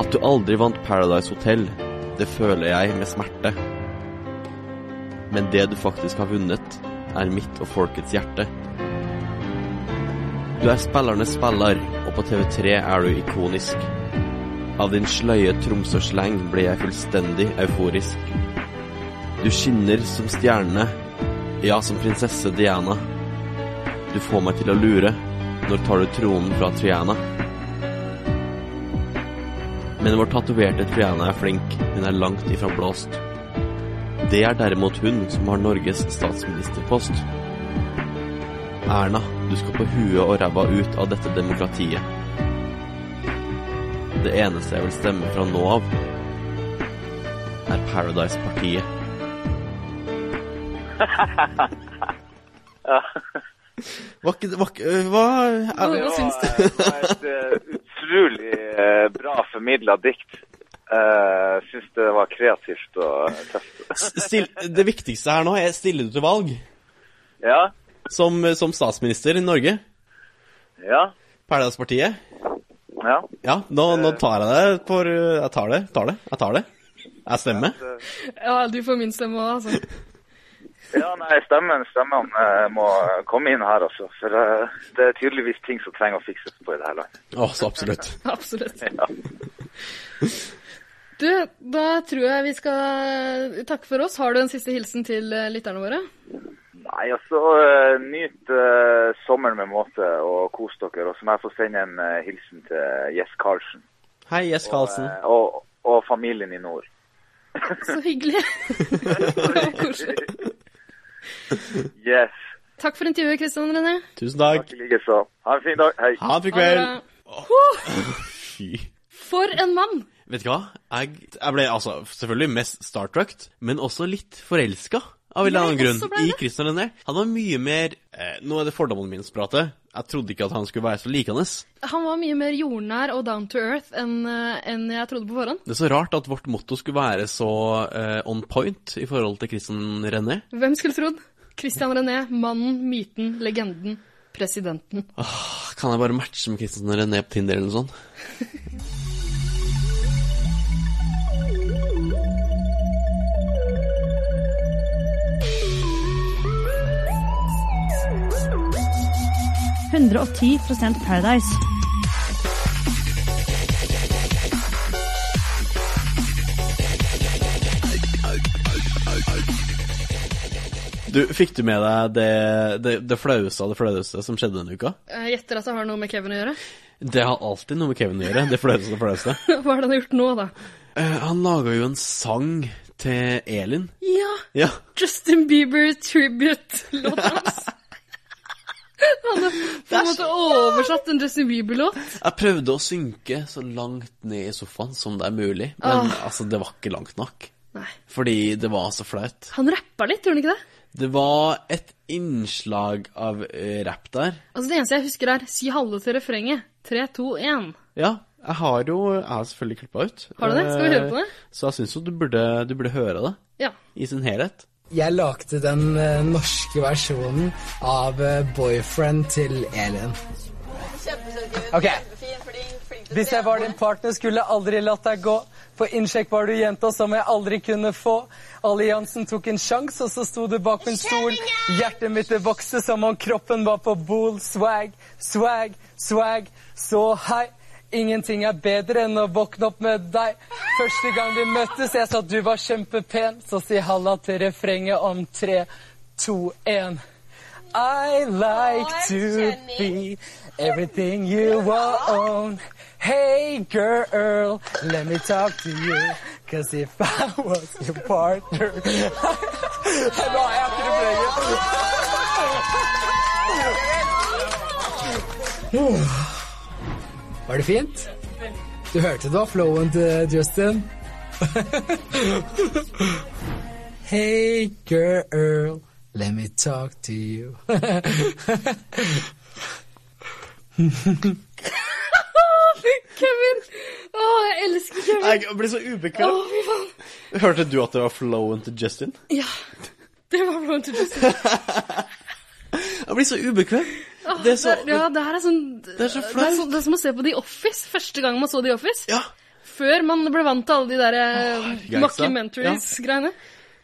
Speaker 1: At du aldri vant Paradise Hotel, det føler jeg med smerte. Men det du faktisk har vunnet, er mitt og folkets hjerte. Du er spillernes spiller, og på TV3 er du ikonisk. Av din sløye Tromsø-slang blir jeg fullstendig euforisk. Du skinner som stjerne, ja, som prinsesse Diana. Du får meg til å lure, når tar du tronen fra Triana? Men vår tatoverte Triana er flink, hun er langt ifra blåst. Det er derimot hun som har Norges statsministerpost. Erna, du skal på huet og ræva ut av dette demokratiet. Det eneste jeg vil stemme fra nå av, er Paradise-partiet. Var ikke det var ikke- øh, Hva
Speaker 3: Hva,
Speaker 1: er-
Speaker 3: hva syns du?
Speaker 9: Det var et eh, utrolig eh, bra formidla dikt. Uh, Syns det var kreativt og tøft.
Speaker 1: still, Det viktigste her nå er stiller du til valg
Speaker 9: Ja,
Speaker 1: som, eh, som statsminister i Norge.
Speaker 9: ja,
Speaker 1: Paradise-partiet.
Speaker 9: ja.
Speaker 1: Ja, nå,
Speaker 9: Eh.
Speaker 1: nå tar jeg det for eh, Jeg tar det, tar det, jeg tar det. Jeg stemmer.
Speaker 3: Ja, du får min stemme òg, altså.
Speaker 9: Ja, nei, stemmen, stemmen eh, må komme inn her, altså. For eh, det er tydeligvis ting som trenger å fikses på i det her landet.
Speaker 1: Å, så absolutt.
Speaker 3: Absolutt.
Speaker 9: Ja.
Speaker 3: Du, da tror jeg vi skal takke for oss. Har du en siste hilsen til eh, lytterne våre?
Speaker 9: Nei, altså, eh, nyt eh, sommeren med måte og kos dere. Og så må jeg få sende en eh, hilsen til Jess Karlsen
Speaker 1: Hei, Jess Karlsen.
Speaker 9: eh, og, og familien i nord.
Speaker 3: Så hyggelig. Det var koselig.
Speaker 9: Yes.
Speaker 3: Takk for intervjuet, Kristian René.
Speaker 1: Tusen takk.
Speaker 9: Takk i likeså. Ha en fin dag. Hei.
Speaker 1: Ha en fin
Speaker 3: Ha det
Speaker 1: kveld.
Speaker 3: bra.
Speaker 1: Fy.
Speaker 3: For en mann!
Speaker 1: Vet du hva? Jeg, jeg ble altså selvfølgelig mest startrucked, men også litt forelska. Av en eller annen
Speaker 3: Jeg
Speaker 1: grunn.
Speaker 3: også ble
Speaker 1: I
Speaker 3: det.
Speaker 1: Christian René. Han var mye mer eh, Nå er det fordommene mine som prater. Jeg trodde ikke at han skulle være så likende.
Speaker 3: Han var mye mer jordnær og down to earth enn eh, enn jeg trodde på forhånd.
Speaker 1: Det er så rart at vårt motto skulle være så eh, on point i forhold til Christian René.
Speaker 3: Hvem skulle trodd? Christian René, mannen, myten, legenden, presidenten.
Speaker 1: Kan jeg bare matche med Christian René på Tinder eller noe sånt?
Speaker 5: det. 110 Paradise.
Speaker 1: Du, Fikk du med deg det, det, det flaueste av det flaueste som skjedde denne uka?
Speaker 3: Eh, Jeg gjetter at det har noe med Kevin å gjøre.
Speaker 1: Det har alltid noe med Kevin å gjøre. Det flaueste av det flaueste.
Speaker 3: Hva er det han har gjort nå, da?
Speaker 1: Eh, han laga jo en sang til Elin.
Speaker 3: Ja,
Speaker 1: Ja.
Speaker 3: Justin Bieber tribute-låta hans. Han har på en måte oversatt en Justin Bieber-låt.
Speaker 1: Jeg prøvde å synke så langt ned i sofaen som det er mulig, men altså, det var ikke langt nok.
Speaker 3: Nei.
Speaker 1: Fordi det var så flaut.
Speaker 3: Han rappa litt, gjorde han ikke det?
Speaker 1: Det var et innslag av eh, rap der.
Speaker 3: Altså Det eneste jeg husker, er 'si halve til refrenget'. 3, 2, 1.
Speaker 1: Ja, jeg har jo Jeg har selvfølgelig klippa ut.
Speaker 3: Har du det? Skal vi høre på det?
Speaker 1: Eh, Så jeg syns jo du burde, du burde høre det
Speaker 3: Ja.
Speaker 1: i sin helhet.
Speaker 10: Jeg lagde den eh, norske versjonen av eh, Boyfriend til Elin. Ok. Hvis jeg var din partner, skulle jeg aldri latt deg gå. På innsjekk var du jenta som jeg aldri kunne få. Alliansen tok en sjanse, og så sto du bak min stol. Hjertet mitt det vokste som om kroppen var på bol. Swag, swag, swag. Så hei. Ingenting er bedre enn å våkne opp med deg. Første gang vi møttes, jeg sa du var kjempepen. Så si halla til refrenget om tre, to, én. I like to be everything you want. Hey girl, let me talk to you. Cause if I was your partner Nå har jeg ikke det lenger. Var det fint? Du hørte det var flowen til Justin. Hey girl, let me talk to you.
Speaker 3: Kevin! Å, jeg elsker Kevin.
Speaker 1: Jeg ble så
Speaker 3: Å,
Speaker 1: ubekvem.
Speaker 3: fy faen.
Speaker 1: Hørte du at det var flowen til Justin?
Speaker 3: Ja. Det var Blown to Justin.
Speaker 1: Jeg blir så ubekvem. Det er så
Speaker 3: Ah, Det- ja, det her er sånn
Speaker 1: er så
Speaker 3: Det er,
Speaker 1: flaut.
Speaker 3: sånn- det er som å se på The Office første gang man så The Office.
Speaker 1: Ja.
Speaker 3: Før man ble vant til alle de der eh,
Speaker 1: gangsta.
Speaker 3: mockumentaries-greiene.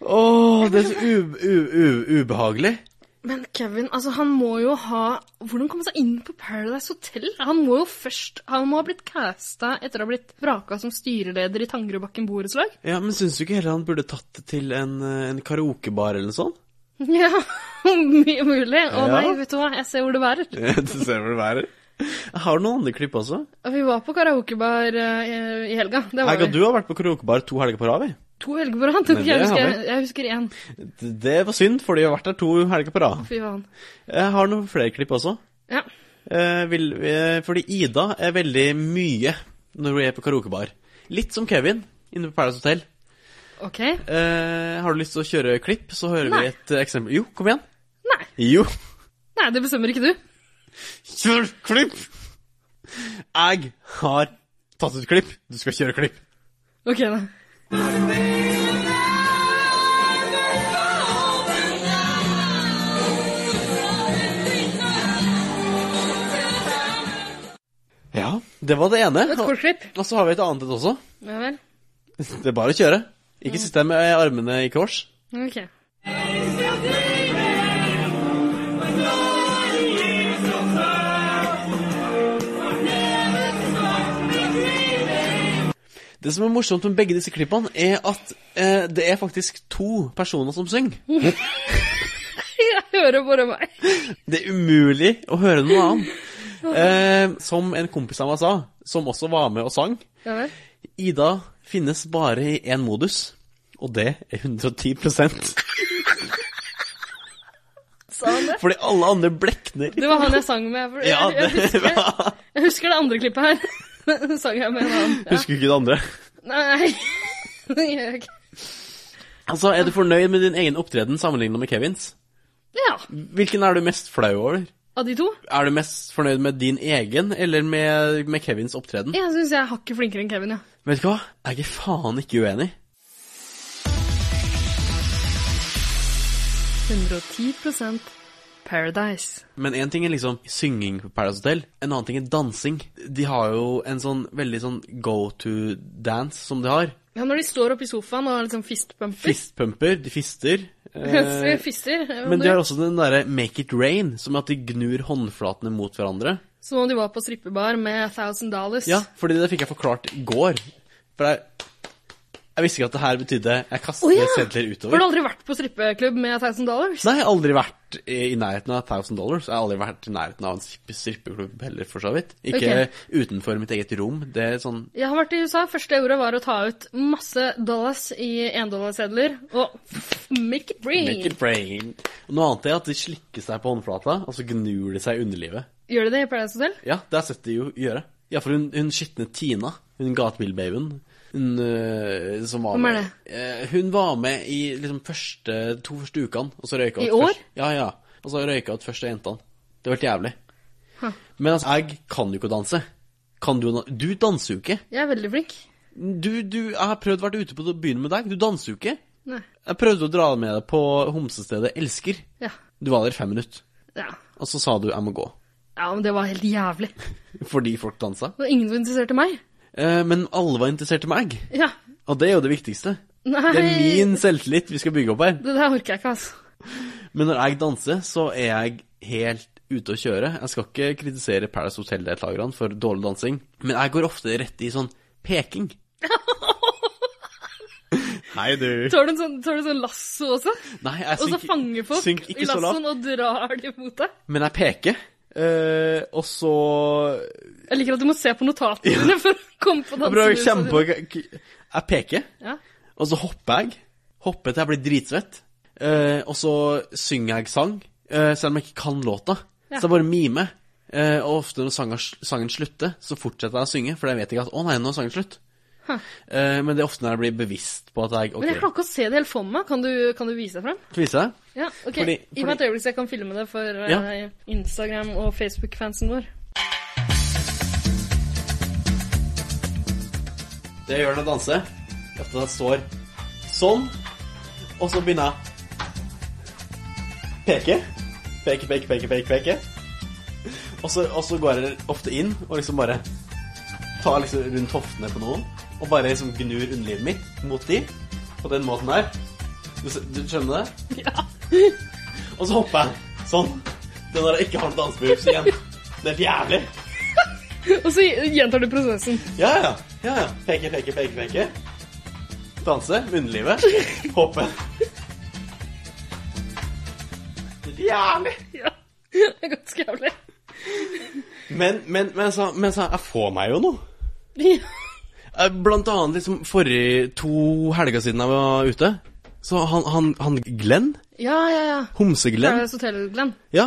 Speaker 1: Åh, det er så u u u ubehagelig.
Speaker 3: Men Kevin, altså han må jo ha Hvordan kom han seg inn på Paradise Hotel? Han må jo først Han må ha blitt casta etter å ha blitt vraka som styreleder i Tangerudbakken borettslag.
Speaker 1: Ja, men syns du ikke heller han burde tatt det til en, eh, en karaokebar eller noe sånt?
Speaker 3: Ja, mye mulig.
Speaker 1: Ja.
Speaker 3: Å nei, vet du hva, jeg ser hvor det bærer.
Speaker 1: du ser hvor det bærer. Jeg har noen andre klipp også.
Speaker 3: Vi var på karaokebar eh, i helga. Det var
Speaker 1: Hegg og
Speaker 3: vi.
Speaker 1: du har vært på karaokebar to helger på rad, vi.
Speaker 3: to helger på rad.
Speaker 1: Men det
Speaker 3: Jeg
Speaker 1: har
Speaker 3: husker-
Speaker 1: vi.
Speaker 3: jeg husker én.
Speaker 1: D- Det var synd, for de har vært der to helger på rad.
Speaker 3: Fy faen.
Speaker 1: Jeg har noen flere klipp også.
Speaker 3: Ja.
Speaker 1: Eh, vil, eh, fordi Ida er veldig mye når hun er på karaokebar. Litt som Kevin inne på Paradise Hotel.
Speaker 3: OK.
Speaker 1: Eh, har du lyst til å kjøre klipp, så hører
Speaker 3: Nei.
Speaker 1: vi et eh, eksempel. Jo, kom igjen.
Speaker 3: Nei.
Speaker 1: Jo.
Speaker 3: Nei, det bestemmer ikke du.
Speaker 1: Kjør klipp! Jeg har tatt ut klipp. Du skal kjøre klipp.
Speaker 3: OK, da.
Speaker 1: Ja, det var det ene.
Speaker 3: Et kort klipp.
Speaker 1: Og så har vi et annet et også.
Speaker 3: Ja vel.
Speaker 1: Det er bare å kjøre. Ikke sitt der med armene i kors.
Speaker 3: OK.
Speaker 1: Det som er morsomt med begge disse klippene, er at eh, det er faktisk to personer som synger.
Speaker 3: Jeg hører bare meg.
Speaker 1: Det er umulig å høre noe annet. Eh, som en kompis av meg sa, som også var med og sang.
Speaker 3: Ja vel.
Speaker 1: Ida finnes bare i én modus, og det er 110
Speaker 3: Sa han det?
Speaker 1: Fordi alle andre blekner.
Speaker 3: Det var han jeg sang med. For jeg,
Speaker 1: Ja,
Speaker 3: jeg,
Speaker 1: det-
Speaker 3: husker, jeg husker det andre klippet her. sang jeg med en annen. Ja.
Speaker 1: Husker ikke det andre.
Speaker 3: Nei. Det gjør jeg ikke.
Speaker 1: Altså, Er du fornøyd med din egen opptreden sammenlignet med Kevins?
Speaker 3: Ja.
Speaker 1: Hvilken er du mest flau over?
Speaker 3: Av de to?
Speaker 1: Er du mest fornøyd med din egen, eller med, med Kevins opptreden?
Speaker 3: Jeg syns jeg er hakket flinkere enn Kevin, ja.
Speaker 1: Vet du hva? Jeg er faen ikke uenig.
Speaker 3: 110 Paradise.
Speaker 1: Men én ting er liksom synging på Paradise Hotel, en annen ting er dansing. De har jo en sånn veldig sånn go to-dance som de har.
Speaker 3: Ja, når de står oppe i sofaen og liksom fistpumper.
Speaker 1: Fistpumper, de fister.
Speaker 3: Så
Speaker 1: Eh,
Speaker 3: Fister. eh,
Speaker 1: men
Speaker 3: om
Speaker 1: de
Speaker 3: du-
Speaker 1: har også den derre make it rain, som er at de gnur håndflatene mot hverandre.
Speaker 3: Som om de var på strippebar med 1000 dollars.
Speaker 1: Ja, fordi det fikk jeg forklart i går. For jeg, jeg visste ikke at det her betydde jeg kaster
Speaker 3: Å, ja.
Speaker 1: sedler
Speaker 3: Har
Speaker 1: utover.
Speaker 3: du aldri vært på strippeklubb med 1000 dollars?
Speaker 1: Nei, jeg har aldri vært i i nærheten av 1000 dollars. Jeg har aldri vært i nærheten av en strippe- strippeklubb heller, for så vidt. Ikke
Speaker 3: Ok.
Speaker 1: utenfor mitt eget rom. Det er sånn
Speaker 3: Jeg har vært i USA. Første jeg gjorde, var å ta ut masse dollars i endollarsedler og make it
Speaker 1: make
Speaker 3: rain.
Speaker 1: it rain. Og noe annet er at de slikker seg på håndflata, og så gnur de seg i underlivet.
Speaker 3: Gjør de det i Paradise Hotel?
Speaker 1: Ja, det har jeg sett de jo gjøre. Ja, for hun, hun skitne Tina, hun gatebilbabyen, hun øh, som var
Speaker 3: Hvem er
Speaker 1: med Eh, Hun var med i liksom første, to første ukene, og så røyka
Speaker 3: I
Speaker 1: ut
Speaker 3: år?
Speaker 1: Først, ja, ja. Og så røyka ut første jentene. Det var helt jævlig.
Speaker 3: Huh.
Speaker 1: Men altså, jeg kan jo ikke å danse. Kan du, du danser jo ikke.
Speaker 3: Jeg er veldig flink.
Speaker 1: Du, du, jeg har prøvd å være ute på byen med deg. Du danser jo ikke.
Speaker 3: Nei.
Speaker 1: Jeg prøvde å dra med deg på homsestedet Elsker.
Speaker 3: Ja.
Speaker 1: Du var der i fem minutter.
Speaker 3: Ja.
Speaker 1: Og så sa du 'jeg må gå'.
Speaker 3: ja, men det var helt jævlig.
Speaker 1: Fordi folk dansa.
Speaker 3: Det var ingen som interesserte meg.
Speaker 1: Eh, men alle var interessert i meg.
Speaker 3: Ja.
Speaker 1: Og det er jo det viktigste.
Speaker 3: Nei.
Speaker 1: Det er min selvtillit vi skal bygge opp her.
Speaker 3: Det der orker jeg ikke, altså.
Speaker 1: Men når jeg danser, så er jeg helt ute å kjøre. Jeg skal ikke kritisere Paradise Hotel-deltakerne for dårlig dansing, men jeg går ofte rett i sånn peking. Hei, du.
Speaker 3: Tar du en sånn, tar du en sånn lasso også?
Speaker 1: Nei, jeg
Speaker 3: Og så
Speaker 1: synker,
Speaker 3: fanger folk
Speaker 1: synker
Speaker 3: i
Speaker 1: ikke så lavt,
Speaker 3: lassoen og drar de mot deg?
Speaker 1: men jeg peker. Eh, og så
Speaker 3: Jeg liker at du må se på notatene dine for å komme på
Speaker 1: Jeg prøver å
Speaker 3: dansehuset.
Speaker 1: kjempe Jeg peker,
Speaker 3: Ja.
Speaker 1: og så hopper jeg. Hopper til jeg blir dritsvett. Eh, og så synger jeg sang, eh, selv om jeg ikke kan låta.
Speaker 3: Ja.
Speaker 1: Så jeg bare mimer. Eh, og ofte når sangen, sangen slutter, så fortsetter jeg å synge, for jeg vet ikke at 'Å nei, nå er sangen slutt'.
Speaker 3: Huh.
Speaker 1: Eh, men det er ofte når jeg blir bevisst på at jeg
Speaker 3: Men jeg
Speaker 1: OK,
Speaker 3: klarer ikke å se det helt for meg. Kan du, kan du vise deg frem?
Speaker 1: skal vise deg.
Speaker 3: Ja, ok.
Speaker 1: Fordi-
Speaker 3: Gi meg et
Speaker 1: fordi-
Speaker 3: øyeblikk så jeg kan filme det for eh,
Speaker 1: Ja.
Speaker 3: Instagram og Facebook-fansen vår.
Speaker 1: Det jeg gjør når jeg danser, er at jeg står sånn, og så begynner jeg peke. Peke, peke, peke, peke, peke. Og så, og så går jeg ofte inn og liksom bare tar liksom rundt hoftene på noen, og bare liksom gnur underlivet mitt mot de, på den måten her. Du, s- du skjønner det? Ja. Og så hopper jeg sånn. Det er når jeg ikke har noe dansebevegelse igjen. Det er helt jævlig.
Speaker 3: Og så gjentar du prosessen.
Speaker 1: Ja, ja. ja, ja. Peke, peke, peke, peke. Danse, munnlivet, hoppe. Jævlig!
Speaker 3: Ja. Det er ganske jævlig.
Speaker 1: Men, men, men, altså, men altså, jeg får meg jo noe.
Speaker 3: Ja.
Speaker 1: Eh, Blant annet liksom forrige to helger siden jeg var ute. Så han, han, han Glenn,
Speaker 3: Ja, ja, ja.
Speaker 1: homse-Glenn,
Speaker 3: Paradise Hotel, Glenn.
Speaker 1: ja,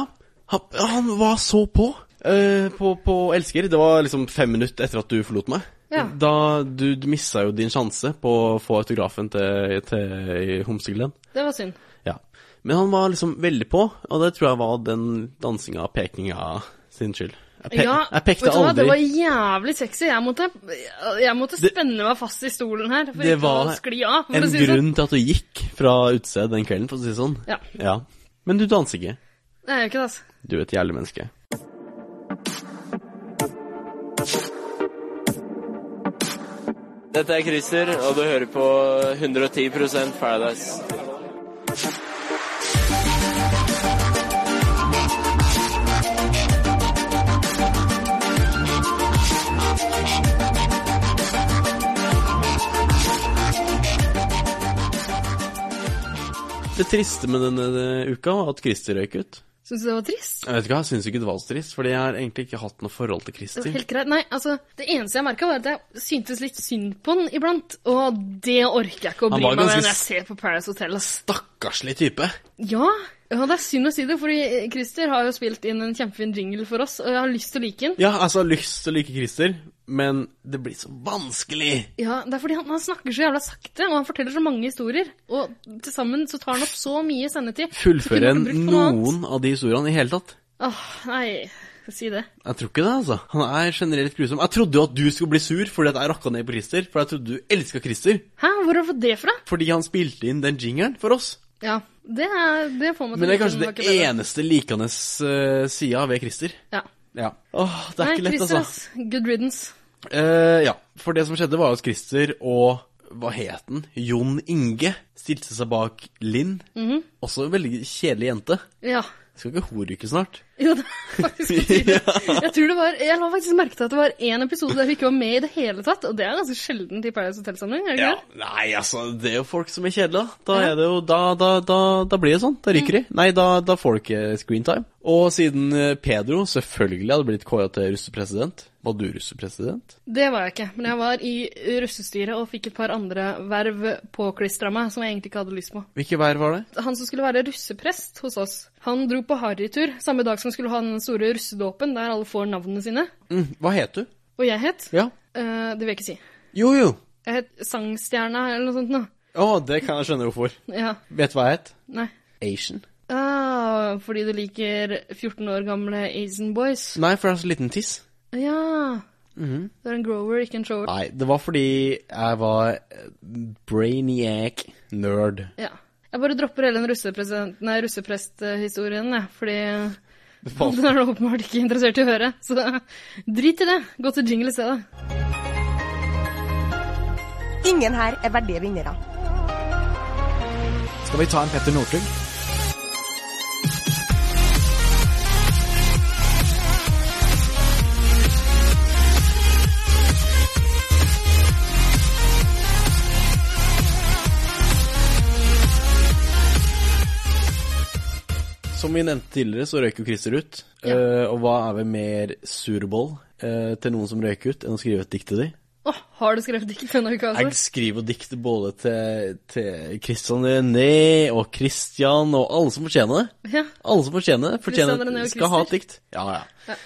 Speaker 1: han, han var så på. eh, på, på Elsker. Det var liksom fem minutter etter at du forlot meg.
Speaker 3: Ja.
Speaker 1: Da du, du missa jo din sjanse på å få autografen til, til homse-Glenn.
Speaker 3: Det var synd.
Speaker 1: Ja. Men han var liksom veldig på, og det tror jeg var den dansinga og pekinga sin skyld. Jeg, pe
Speaker 3: Ja,
Speaker 1: jeg pekte
Speaker 3: vet du hva?
Speaker 1: aldri.
Speaker 3: Det var jævlig sexy. Jeg måtte, jeg måtte
Speaker 1: Det-
Speaker 3: spenne meg fast i stolen her for
Speaker 1: Det
Speaker 3: ikke
Speaker 1: var
Speaker 3: å skli av. For
Speaker 1: en
Speaker 3: å si det sånn.
Speaker 1: grunn til at du gikk fra utestedet den kvelden, for å si det sånn.
Speaker 3: Ja.
Speaker 1: Men du danser ikke.
Speaker 3: Nei, jeg gjør ikke det, altså.
Speaker 1: Du er et jævlig menneske.
Speaker 11: Dette er Christer, og du hører på 110 Paradise.
Speaker 1: Det det triste med denne eh, uka var at Christer røyk ut.
Speaker 3: Syns du det var trist?
Speaker 1: Jeg vet ikke, jeg syns ikke det var så trist, fordi jeg har egentlig ikke hatt noe forhold til
Speaker 3: Det var
Speaker 1: Christer.
Speaker 3: helt greit. Nei, altså, det eneste jeg merka, var at jeg syntes litt synd på den iblant. Og det orker jeg ikke å
Speaker 1: Han
Speaker 3: bry
Speaker 1: var
Speaker 3: meg med
Speaker 1: ganske
Speaker 3: når jeg ser på Paradise Hotel. ass.
Speaker 1: Garslig type.
Speaker 3: Ja, ja, det er synd å si det, fordi Christer har jo spilt inn en kjempefin jingle for oss, og jeg har lyst til å like den.
Speaker 1: Ja, altså, jeg har lyst til å like Christer, men det blir så vanskelig.
Speaker 3: Ja, det er fordi han, han snakker så jævla sakte, og han forteller så mange historier. Og til sammen så tar han opp så mye sendetid.
Speaker 1: Fullføre
Speaker 3: Så
Speaker 1: en
Speaker 3: kunne han brukt på noe annet.
Speaker 1: noen av de historiene i hele tatt.
Speaker 3: Åh, nei, si det.
Speaker 1: Jeg tror ikke det, altså. Han er generelt grusom. Jeg trodde jo at du skulle bli sur fordi at jeg rakka ned på Christer, for jeg trodde du elska Christer.
Speaker 3: Hæ, hvor har du fått det fra?
Speaker 1: Fordi han spilte inn den jingeren for oss.
Speaker 3: Ja, det, er, det får meg til
Speaker 1: Men det er
Speaker 3: å like
Speaker 1: kanskje
Speaker 3: den,
Speaker 1: det
Speaker 3: var ikke bedre.
Speaker 1: eneste likende eh, sida ved Christer.
Speaker 3: Ja.
Speaker 1: Ja. Åh, det er
Speaker 3: nei,
Speaker 1: ikke lett,
Speaker 3: Christer,
Speaker 1: altså.
Speaker 3: ass. Good riddance.
Speaker 1: Eh, ja, for det som skjedde var at Christer og hva het han? Jon Inge stilte seg bak Linn.
Speaker 3: Mhm.
Speaker 1: Også en veldig kjedelig jente.
Speaker 3: Ja.
Speaker 1: Skal ikke hun ryke snart?
Speaker 3: Jo, det er faktisk på tide. Jeg tror det var, jeg la faktisk merke til at det var én episode der vi ikke var med i det hele tatt, og det er ganske sjelden i Paradise Hotel-sammenheng, er det ikke
Speaker 1: Ja,
Speaker 3: det?
Speaker 1: nei, altså, det er jo folk som er kjedelige. da. Da, er det jo, da, da, da, da blir det sånn. Da ryker de. Nei, da, da får de ikke screentime. Og siden eh, Pedro selvfølgelig hadde blitt kåra til russepresident Var du russepresident?
Speaker 3: Det var jeg ikke, men jeg var i russestyret og fikk et par andre verv påklistra meg som jeg egentlig ikke hadde lyst på.
Speaker 1: Hvilke vær var det?
Speaker 3: Han som skulle være russeprest hos oss, han dro på harrytur samme dag som han skulle ha den store russedåpen der alle får navnene sine.
Speaker 1: Mm, hva het du?
Speaker 3: Og jeg het
Speaker 1: Ja.
Speaker 3: eh, Det vil jeg ikke si.
Speaker 1: Jo, jo.
Speaker 3: Jeg het Sangstjerna eller noe sånt noe.
Speaker 1: Å, det kan jeg skjønne hvorfor.
Speaker 3: Ja.
Speaker 1: Vet du hva jeg het?
Speaker 3: Nei.
Speaker 1: Asian.
Speaker 3: Ah, fordi du liker 14 år gamle Asian boys.
Speaker 1: Nei, for jeg har så liten tiss.
Speaker 3: Ja.
Speaker 1: Mhm.
Speaker 3: Du er en grower, ikke en shower.
Speaker 1: Nei, det var fordi jeg var eh, brainiac nerd.
Speaker 3: Ja. Jeg bare dropper hele den russepresident- nei, russeprest-historien, jeg, fordi
Speaker 1: Faen.
Speaker 3: den er du åpenbart ikke interessert i å høre. Så drit i det. Gå til jingle i stedet.
Speaker 4: Ingen her er verdige vinnere.
Speaker 12: Skal vi ta en Petter Northug?
Speaker 1: Som vi nevnte tidligere, så røyk jo Christer ut.
Speaker 3: Ja.
Speaker 1: Eh, og hva er vel mer surboll eh, til noen som røyker ut, enn å skrive et dikt til dem?
Speaker 3: Åh, har du skrevet dikt denne uka,
Speaker 1: Jeg
Speaker 3: altså?
Speaker 1: skriver jo dikt både til, til Christian René og Christian og alle som fortjener det.
Speaker 3: Ja.
Speaker 1: Alle som fortjener det, fortjener
Speaker 3: Christian René og
Speaker 1: skal ha et
Speaker 3: Christer.
Speaker 1: dikt. Ja, ja.
Speaker 3: Ja.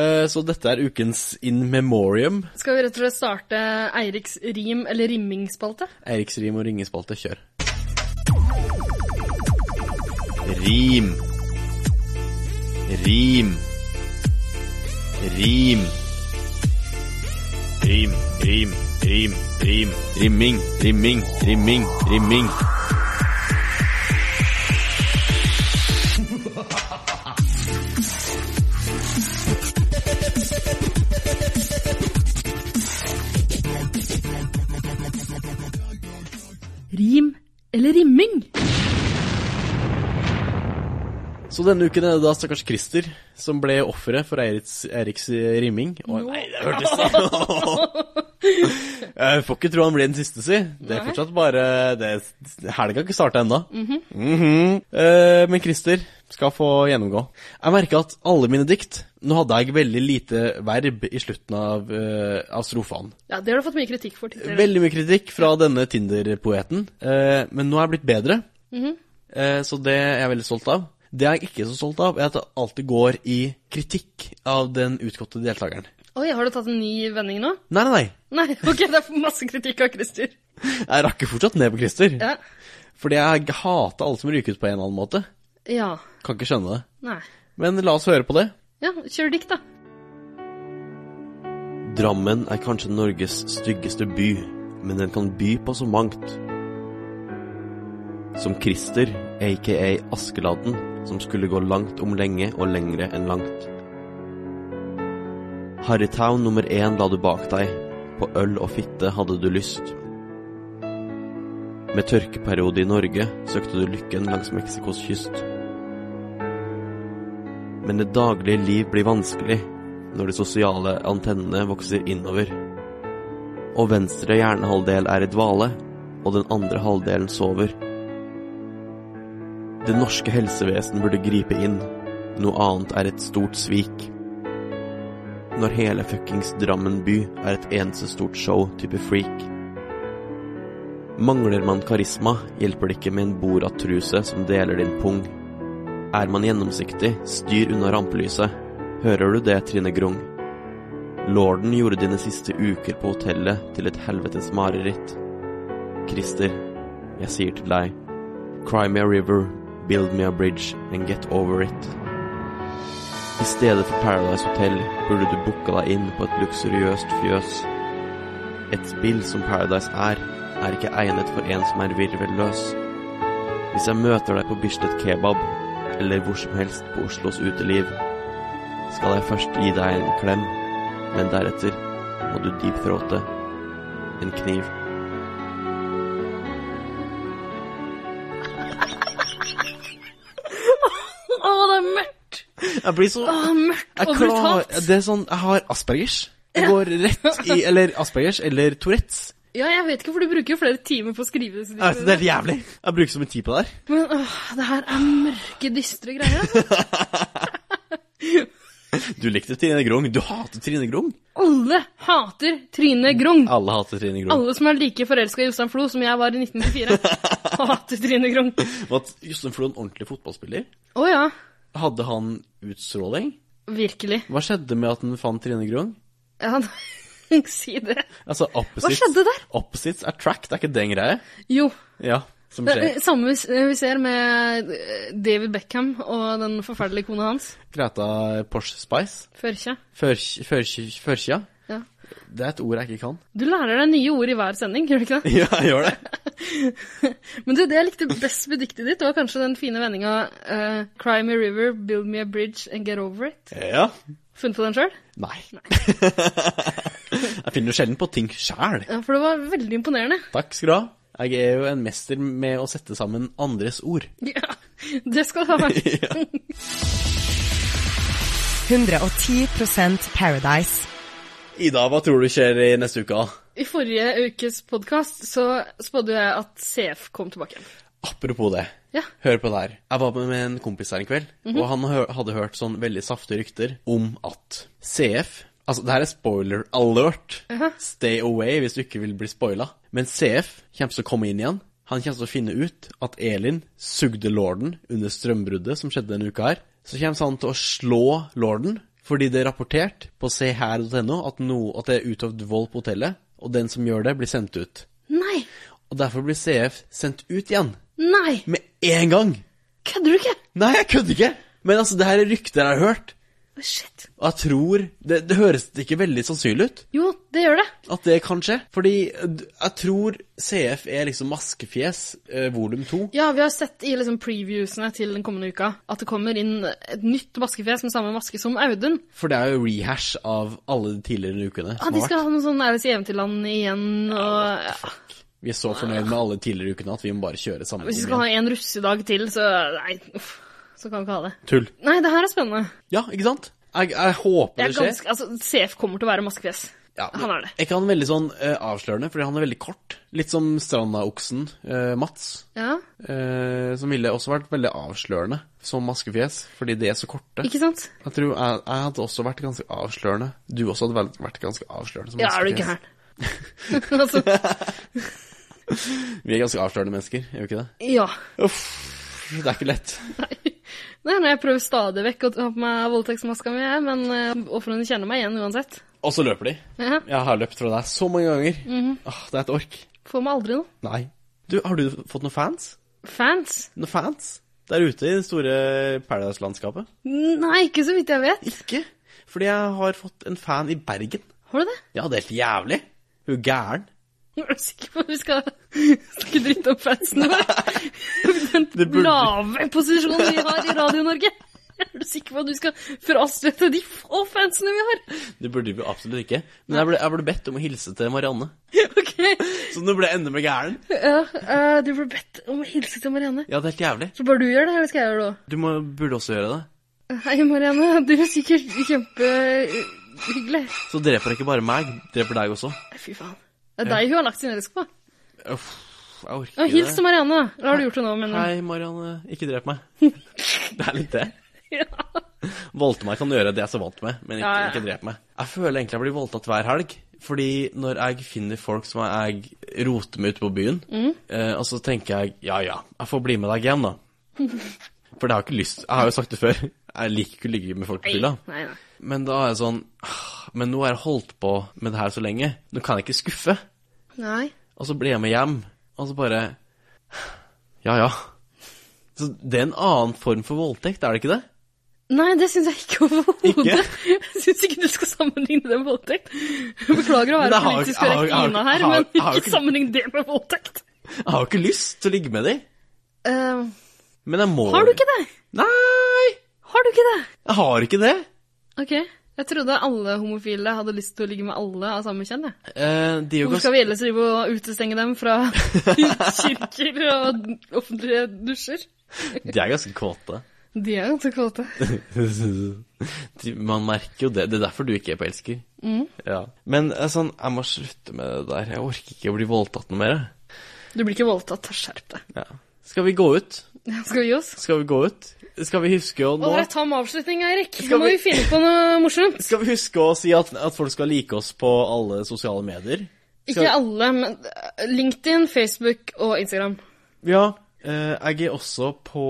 Speaker 1: Eh, så dette er ukens In Memoriam.
Speaker 3: Skal vi rett og slett starte Eiriks rim- eller rimmingsspalte?
Speaker 1: Eiriksrim og ringespalte, kjør. Rim.
Speaker 13: Rim. Rim. Rim, rim, rim, rim. Rimming, rimming, rimming, rimming.
Speaker 3: Rim eller rimming?
Speaker 1: Så denne uken er det da stakkars Christer som ble offeret for Eiriks, Eiriks rimming. Og, nei, det hørtes Jeg får ikke tro han blir den siste, si. Det er
Speaker 3: Nei.
Speaker 1: fortsatt bare det, Helga har ikke starta ennå.
Speaker 3: Mhm.
Speaker 1: Mhm. Eh, men Christer skal få gjennomgå. Jeg merka at alle mine dikt Nå hadde jeg veldig lite verb i slutten av, eh, av strofene.
Speaker 3: Ja, det har du fått mye kritikk for. tidligere.
Speaker 1: Veldig mye kritikk fra denne Tinder-poeten, eh, men nå er jeg blitt bedre.
Speaker 3: Mhm.
Speaker 1: Eh, Så det er jeg veldig stolt av. Det jeg ikke er så stolt av, er at det alltid går i kritikk av den utgåtte deltakeren.
Speaker 3: Oi, har du tatt en ny vending nå?
Speaker 1: Nei, nei, nei.
Speaker 3: Nei, ok, det er masse kritikk av Christer.
Speaker 1: Jeg rakker fortsatt ned på Christer.
Speaker 3: Ja.
Speaker 1: Fordi jeg hater alle som ryker ut på en eller annen måte.
Speaker 3: Ja.
Speaker 1: Kan ikke skjønne det.
Speaker 3: Nei.
Speaker 1: Men la oss høre på det.
Speaker 3: Ja, kjør dikt, da.
Speaker 1: Drammen er kanskje Norges styggeste by, men den kan by på så mangt. Som Christer, aka Askeladden, som skulle gå langt om lenge og lengre enn langt. Harrytown nummer én la du bak deg, på øl og fitte hadde du lyst. Med tørkeperiode i Norge søkte du lykken langs Mexicos kyst. Men det daglige liv blir vanskelig når de sosiale antennene vokser innover. Og venstre hjernehalvdel er i dvale, og den andre halvdelen sover. Det norske helsevesen burde gripe inn. Noe annet er et stort svik. Når hele fuckings Drammen by er et eneste stort show type freak. Mangler man karisma, hjelper det ikke med en Borat-truse som deler din pung. Er man gjennomsiktig, styr unna rampelyset. Hører du det, Trine Grung? Lorden gjorde dine siste uker på hotellet til et helvetes mareritt. Christer, jeg sier til deg, cry me a river, build me a bridge, and get over it. I stedet for Paradise Hotel burde du booka deg inn på et luksuriøst fjøs. Et spill som Paradise er, er ikke egnet for en som er virvelløs. Hvis jeg møter deg på Bislett Kebab, eller hvor som helst på Oslos uteliv, skal jeg først gi deg en klem, men deretter må du deepthroate en kniv.
Speaker 3: Å, det er mørkt!
Speaker 1: Jeg blir så
Speaker 3: Å, mørkt og brutalt.
Speaker 1: Det er sånn Jeg har aspergers. Det går rett i Eller aspergers eller Tourettes.
Speaker 3: Ja, jeg vet ikke, for du bruker jo flere timer på å skrive disse
Speaker 1: Jeg vet, Altså, det er helt jævlig. Jeg bruker så mye tid på det her.
Speaker 3: Men åh, det her er mørke, dystre greier. altså.
Speaker 1: Du likte Trine Grung. Du hater Trine Grung.
Speaker 3: Alle hater Trine Grung.
Speaker 1: Alle hater Trine Grung.
Speaker 3: Alle som er like forelska i Jostein Flo som jeg var i 1994, hater Trine Grung.
Speaker 1: Var Jostein Flo en ordentlig fotballspiller?
Speaker 3: Å ja,
Speaker 1: Hadde han utstråling?
Speaker 3: virkelig.
Speaker 1: Hva skjedde med at han fant Trine Grung?
Speaker 3: Ja, si det.
Speaker 1: Altså, opposites,
Speaker 3: skjedde der?
Speaker 1: Opposites attract, det er ikke den greia?
Speaker 3: Jo.
Speaker 1: Ja, som
Speaker 3: Det er
Speaker 1: skjer.
Speaker 3: det samme vi s- eh, vi ser med eh, David Beckham og den forferdelige kona hans,
Speaker 1: Greta Porsche Spice.
Speaker 3: Førkja.
Speaker 1: Førkj- førkj- Førkja.
Speaker 3: Ja.
Speaker 1: Det er et ord jeg ikke kan.
Speaker 3: Du lærer deg nye ord i hver sending, gjør du ikke det?
Speaker 1: Ja, jeg gjør det.
Speaker 3: Men du, det jeg likte best med diktet ditt, var kanskje den fine vendinga eh, Cry me a river, build me a bridge and get over it.
Speaker 1: Ja.
Speaker 3: Funnet på den sjøl?
Speaker 1: Nei. jeg finner jo sjelden på ting sjæl.
Speaker 3: Ja, for det var veldig imponerende.
Speaker 1: Takk skal du ha. Jeg er jo en mester med å sette sammen andres ord.
Speaker 3: Ja, det skal det ha vært.
Speaker 4: 110 Paradise.
Speaker 1: Ida, hva tror du skjer i neste uke?
Speaker 3: I forrige ukes podkast så spådde jeg at CF kom tilbake igjen.
Speaker 1: Apropos det.
Speaker 3: Ja.
Speaker 1: Hør på det her. Jeg var med en kompis her en kveld,
Speaker 3: Mhm.
Speaker 1: og han hø- hadde hørt sånn veldig saftige rykter om at CF Altså, det her er spoiler alert.
Speaker 3: Jaha.
Speaker 1: Stay away hvis du ikke vil bli spoila. Men CF kommer til å komme inn igjen. Han kommer til å finne ut at Elin sugde lorden under strømbruddet som skjedde denne uka her. Så kommer han til å slå lorden, fordi det er rapportert på seher.no at, no, at det er utøvd vold på hotellet, og den som gjør det, blir sendt ut.
Speaker 3: Nei!
Speaker 1: Og derfor blir CF sendt ut igjen.
Speaker 3: Nei!
Speaker 1: Med én gang!
Speaker 3: Kødder du ikke?
Speaker 1: Nei, jeg kødder ikke! Men altså, det her er rykter jeg har hørt.
Speaker 3: Shit.
Speaker 1: Og jeg tror det, det høres ikke veldig sannsynlig ut
Speaker 3: Jo, det gjør det.
Speaker 1: at det kan skje. Fordi eh, d- jeg tror CF er liksom maskefjes eh, volum to.
Speaker 3: Ja, vi har sett i liksom previewsene til den kommende uka at det kommer inn et nytt maskefjes med samme maske som Audun.
Speaker 1: For det er jo rehash av alle de tidligere ukene
Speaker 3: Ja,
Speaker 1: som
Speaker 3: de
Speaker 1: har
Speaker 3: skal
Speaker 1: vært.
Speaker 3: ha noe sånn Alice i Eventyrland igjen, og ja,
Speaker 1: Vi er så fornøyd med alle de tidligere ukene at vi må bare kjøre samme
Speaker 3: hvis vi
Speaker 1: program.
Speaker 3: skal ha en russedag til, så Nei, uff. Så kan vi ikke ha det.
Speaker 1: Tull.
Speaker 3: Nei, det her er spennende.
Speaker 1: Ja, ikke sant? Jeg, jeg håper
Speaker 3: Jeg
Speaker 1: det
Speaker 3: er
Speaker 1: skjer.
Speaker 3: ganske, altså, CF kommer til å være maskefjes.
Speaker 1: Ja, men
Speaker 3: Han er det.
Speaker 1: Er ikke han veldig sånn eh, avslørende, fordi han er veldig kort? Litt som Stranda-oksen, eh, Mats.
Speaker 3: Ja,
Speaker 1: Eh, som ville også vært veldig avslørende som maskefjes, fordi de er så korte.
Speaker 3: ikke sant?
Speaker 1: Jeg tror jeg, jeg hadde også vært ganske avslørende. Du også hadde vel- vært ganske avslørende som
Speaker 3: Ja, er du
Speaker 1: maskefjes.
Speaker 3: gæren? altså,
Speaker 1: Vi er ganske avslørende mennesker, er vi ikke det?
Speaker 3: ja.
Speaker 1: Uff, det er ikke lett.
Speaker 3: Nei, nei, jeg prøver stadig vekk å ta på meg voldtektsmaska mi, jeg, men eh, ofrene kjenner meg igjen uansett.
Speaker 1: Og så løper de.
Speaker 3: Ja.
Speaker 1: Jeg har løpt fra deg så mange ganger.
Speaker 3: Mhm.
Speaker 1: Åh, det er et ork.
Speaker 3: Får meg aldri noe.
Speaker 1: Nei. Du, har du fått noen fans?
Speaker 3: Fans?
Speaker 1: Noen fans? Der ute i det store Paradise-landskapet?
Speaker 3: Nei, ikke så vidt jeg vet.
Speaker 1: Ikke? Fordi jeg har fått en fan i Bergen.
Speaker 3: Har du det?
Speaker 1: Ja, det er helt jævlig. Hun er gæren.
Speaker 3: Er du sikker på at vi skal snakke dritt om fansen vår? Den lave posisjonen vi har i Radio-Norge. Er du sikker på at du skal frastøte de få fansene vi har?
Speaker 1: Det burde vi absolutt ikke. Men jeg ble, jeg ble bedt om å hilse til Marianne. Så nå ble jeg enda mer gæren.
Speaker 3: Ja, eh, Du ble bedt om å hilse til Marianne.
Speaker 1: Ja, det er helt jævlig.
Speaker 3: Så bare du gjør det, eller skal jeg gjøre det òg?
Speaker 1: Du må, burde også gjøre det.
Speaker 3: Hei, Marianne. Du er sikkert kjempehyggelig.
Speaker 1: Så dreper jeg ikke bare meg, dreper deg også.
Speaker 3: Fy faen. Det er deg hun har lagt sin elsk på.
Speaker 1: Uff, Jeg orker
Speaker 3: Ja,
Speaker 1: ikke
Speaker 3: hils til Marianne, da. Eller har du gjort det nå, mener du?
Speaker 1: Hei, Marianne. Ikke drep meg. Det er litt det. Voldte meg kan du gjøre, det er jeg så vant med, men ikke,
Speaker 3: Ja, ja.
Speaker 1: ikke drep meg. Jeg føler egentlig jeg blir voldtatt hver helg. Fordi når jeg finner folk som jeg roter med ute på byen,
Speaker 6: Mm.
Speaker 1: eh, og så tenker jeg ja ja, jeg får bli med deg hjem, da. For det har jeg ikke lyst Jeg har jo sagt det før. Jeg liker ikke å ligge med folk på fylla.
Speaker 3: Nei, nei.
Speaker 1: Men da er jeg sånn «Ah, Men nå har jeg holdt på med det her så lenge. Nå kan jeg ikke skuffe.
Speaker 3: nei.
Speaker 1: Og så blir jeg med hjem, og så bare Ja, ja. Så det er en annen form for voldtekt, er det ikke det?
Speaker 3: Nei, det syns jeg ikke overhodet. Jeg syns ikke du skal sammenligne det med voldtekt. Jeg Beklager å
Speaker 1: Men
Speaker 3: være
Speaker 1: jeg har-
Speaker 3: politisk
Speaker 1: jeg har-
Speaker 3: korrekt
Speaker 1: jeg har-
Speaker 3: Ina her,
Speaker 1: jeg har-
Speaker 3: men
Speaker 1: jeg har
Speaker 3: ikke
Speaker 1: ikke-
Speaker 3: sammenlign det med voldtekt.
Speaker 1: Jeg har jo ikke lyst til å ligge med dem,
Speaker 3: Eh,
Speaker 1: men jeg må
Speaker 3: har du ikke det?
Speaker 1: Nei!
Speaker 3: Har du ikke det?
Speaker 1: Jeg har ikke det.
Speaker 3: Ok, jeg trodde alle homofile hadde lyst til å ligge med alle av samme kjønn. jeg.
Speaker 1: Eh, de er jo ganske
Speaker 3: Hvorfor skal vi ellers drive og utestenge dem fra kirker og offentlige dusjer?
Speaker 1: De er ganske kåte.
Speaker 3: De er ganske kåte.
Speaker 1: De- Man merker jo det. Det er derfor du ikke er på elsker.
Speaker 3: Mm.
Speaker 1: Ja. Men eh, sånn, jeg må slutte med det der. Jeg orker ikke å bli voldtatt noe mer. jeg.
Speaker 3: Du blir ikke voldtatt, skjerp deg.
Speaker 1: Ja. Skal vi gå ut?
Speaker 3: Skal vi gi oss?
Speaker 1: Skal vi gå ut? Skal vi huske å nå
Speaker 3: Åh, det er tam avslutning, Eirik.
Speaker 1: Skal
Speaker 3: Nå må
Speaker 1: vi-
Speaker 3: vi finne på noe morsomt.
Speaker 1: Skal vi huske å si at, at folk skal like oss på alle sosiale medier? Skal-
Speaker 3: Ikke alle, men eh, LinkedIn, Facebook og Instagram.
Speaker 1: Ja. eh, jeg er også på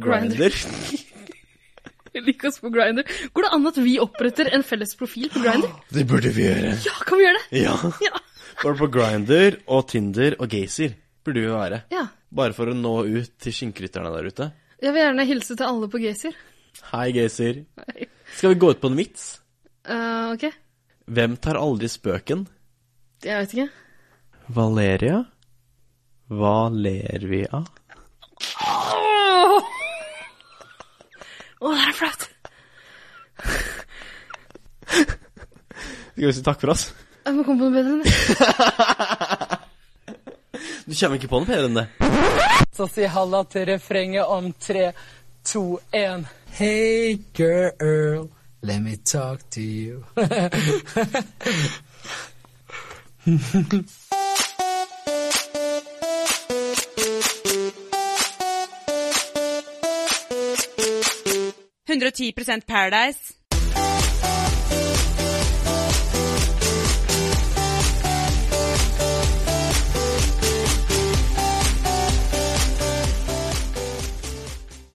Speaker 1: Grinder.
Speaker 3: Lik oss på Grindr. Går det an at vi oppretter en felles profil på Grindr?
Speaker 1: Det burde vi gjøre.
Speaker 3: Ja, kan vi gjøre det?
Speaker 1: Ja. Både på Grinder og Tinder og Gaysir burde vi være.
Speaker 3: Ja.
Speaker 1: Bare for å nå ut til skinnkytterne der ute.
Speaker 3: Jeg vil gjerne hilse til alle på Gaysir.
Speaker 1: Hei, Gaysir. Skal vi gå ut på en vits?
Speaker 3: Eh, ok,
Speaker 1: Hvem tar aldri spøken?
Speaker 3: jeg vet ikke.
Speaker 1: Valeria? Hva ler vi av?
Speaker 3: Åh, Åh, det er flaut.
Speaker 1: Skal vi si takk for oss?
Speaker 3: Jeg må komme på noe bedre enn det.
Speaker 1: Du kommer ikke på noe bedre enn det.
Speaker 10: Så si halla til refrenget om tre, to, én. Hey girl, let me talk to you.
Speaker 2: Paradise.
Speaker 5: 110 Paradise.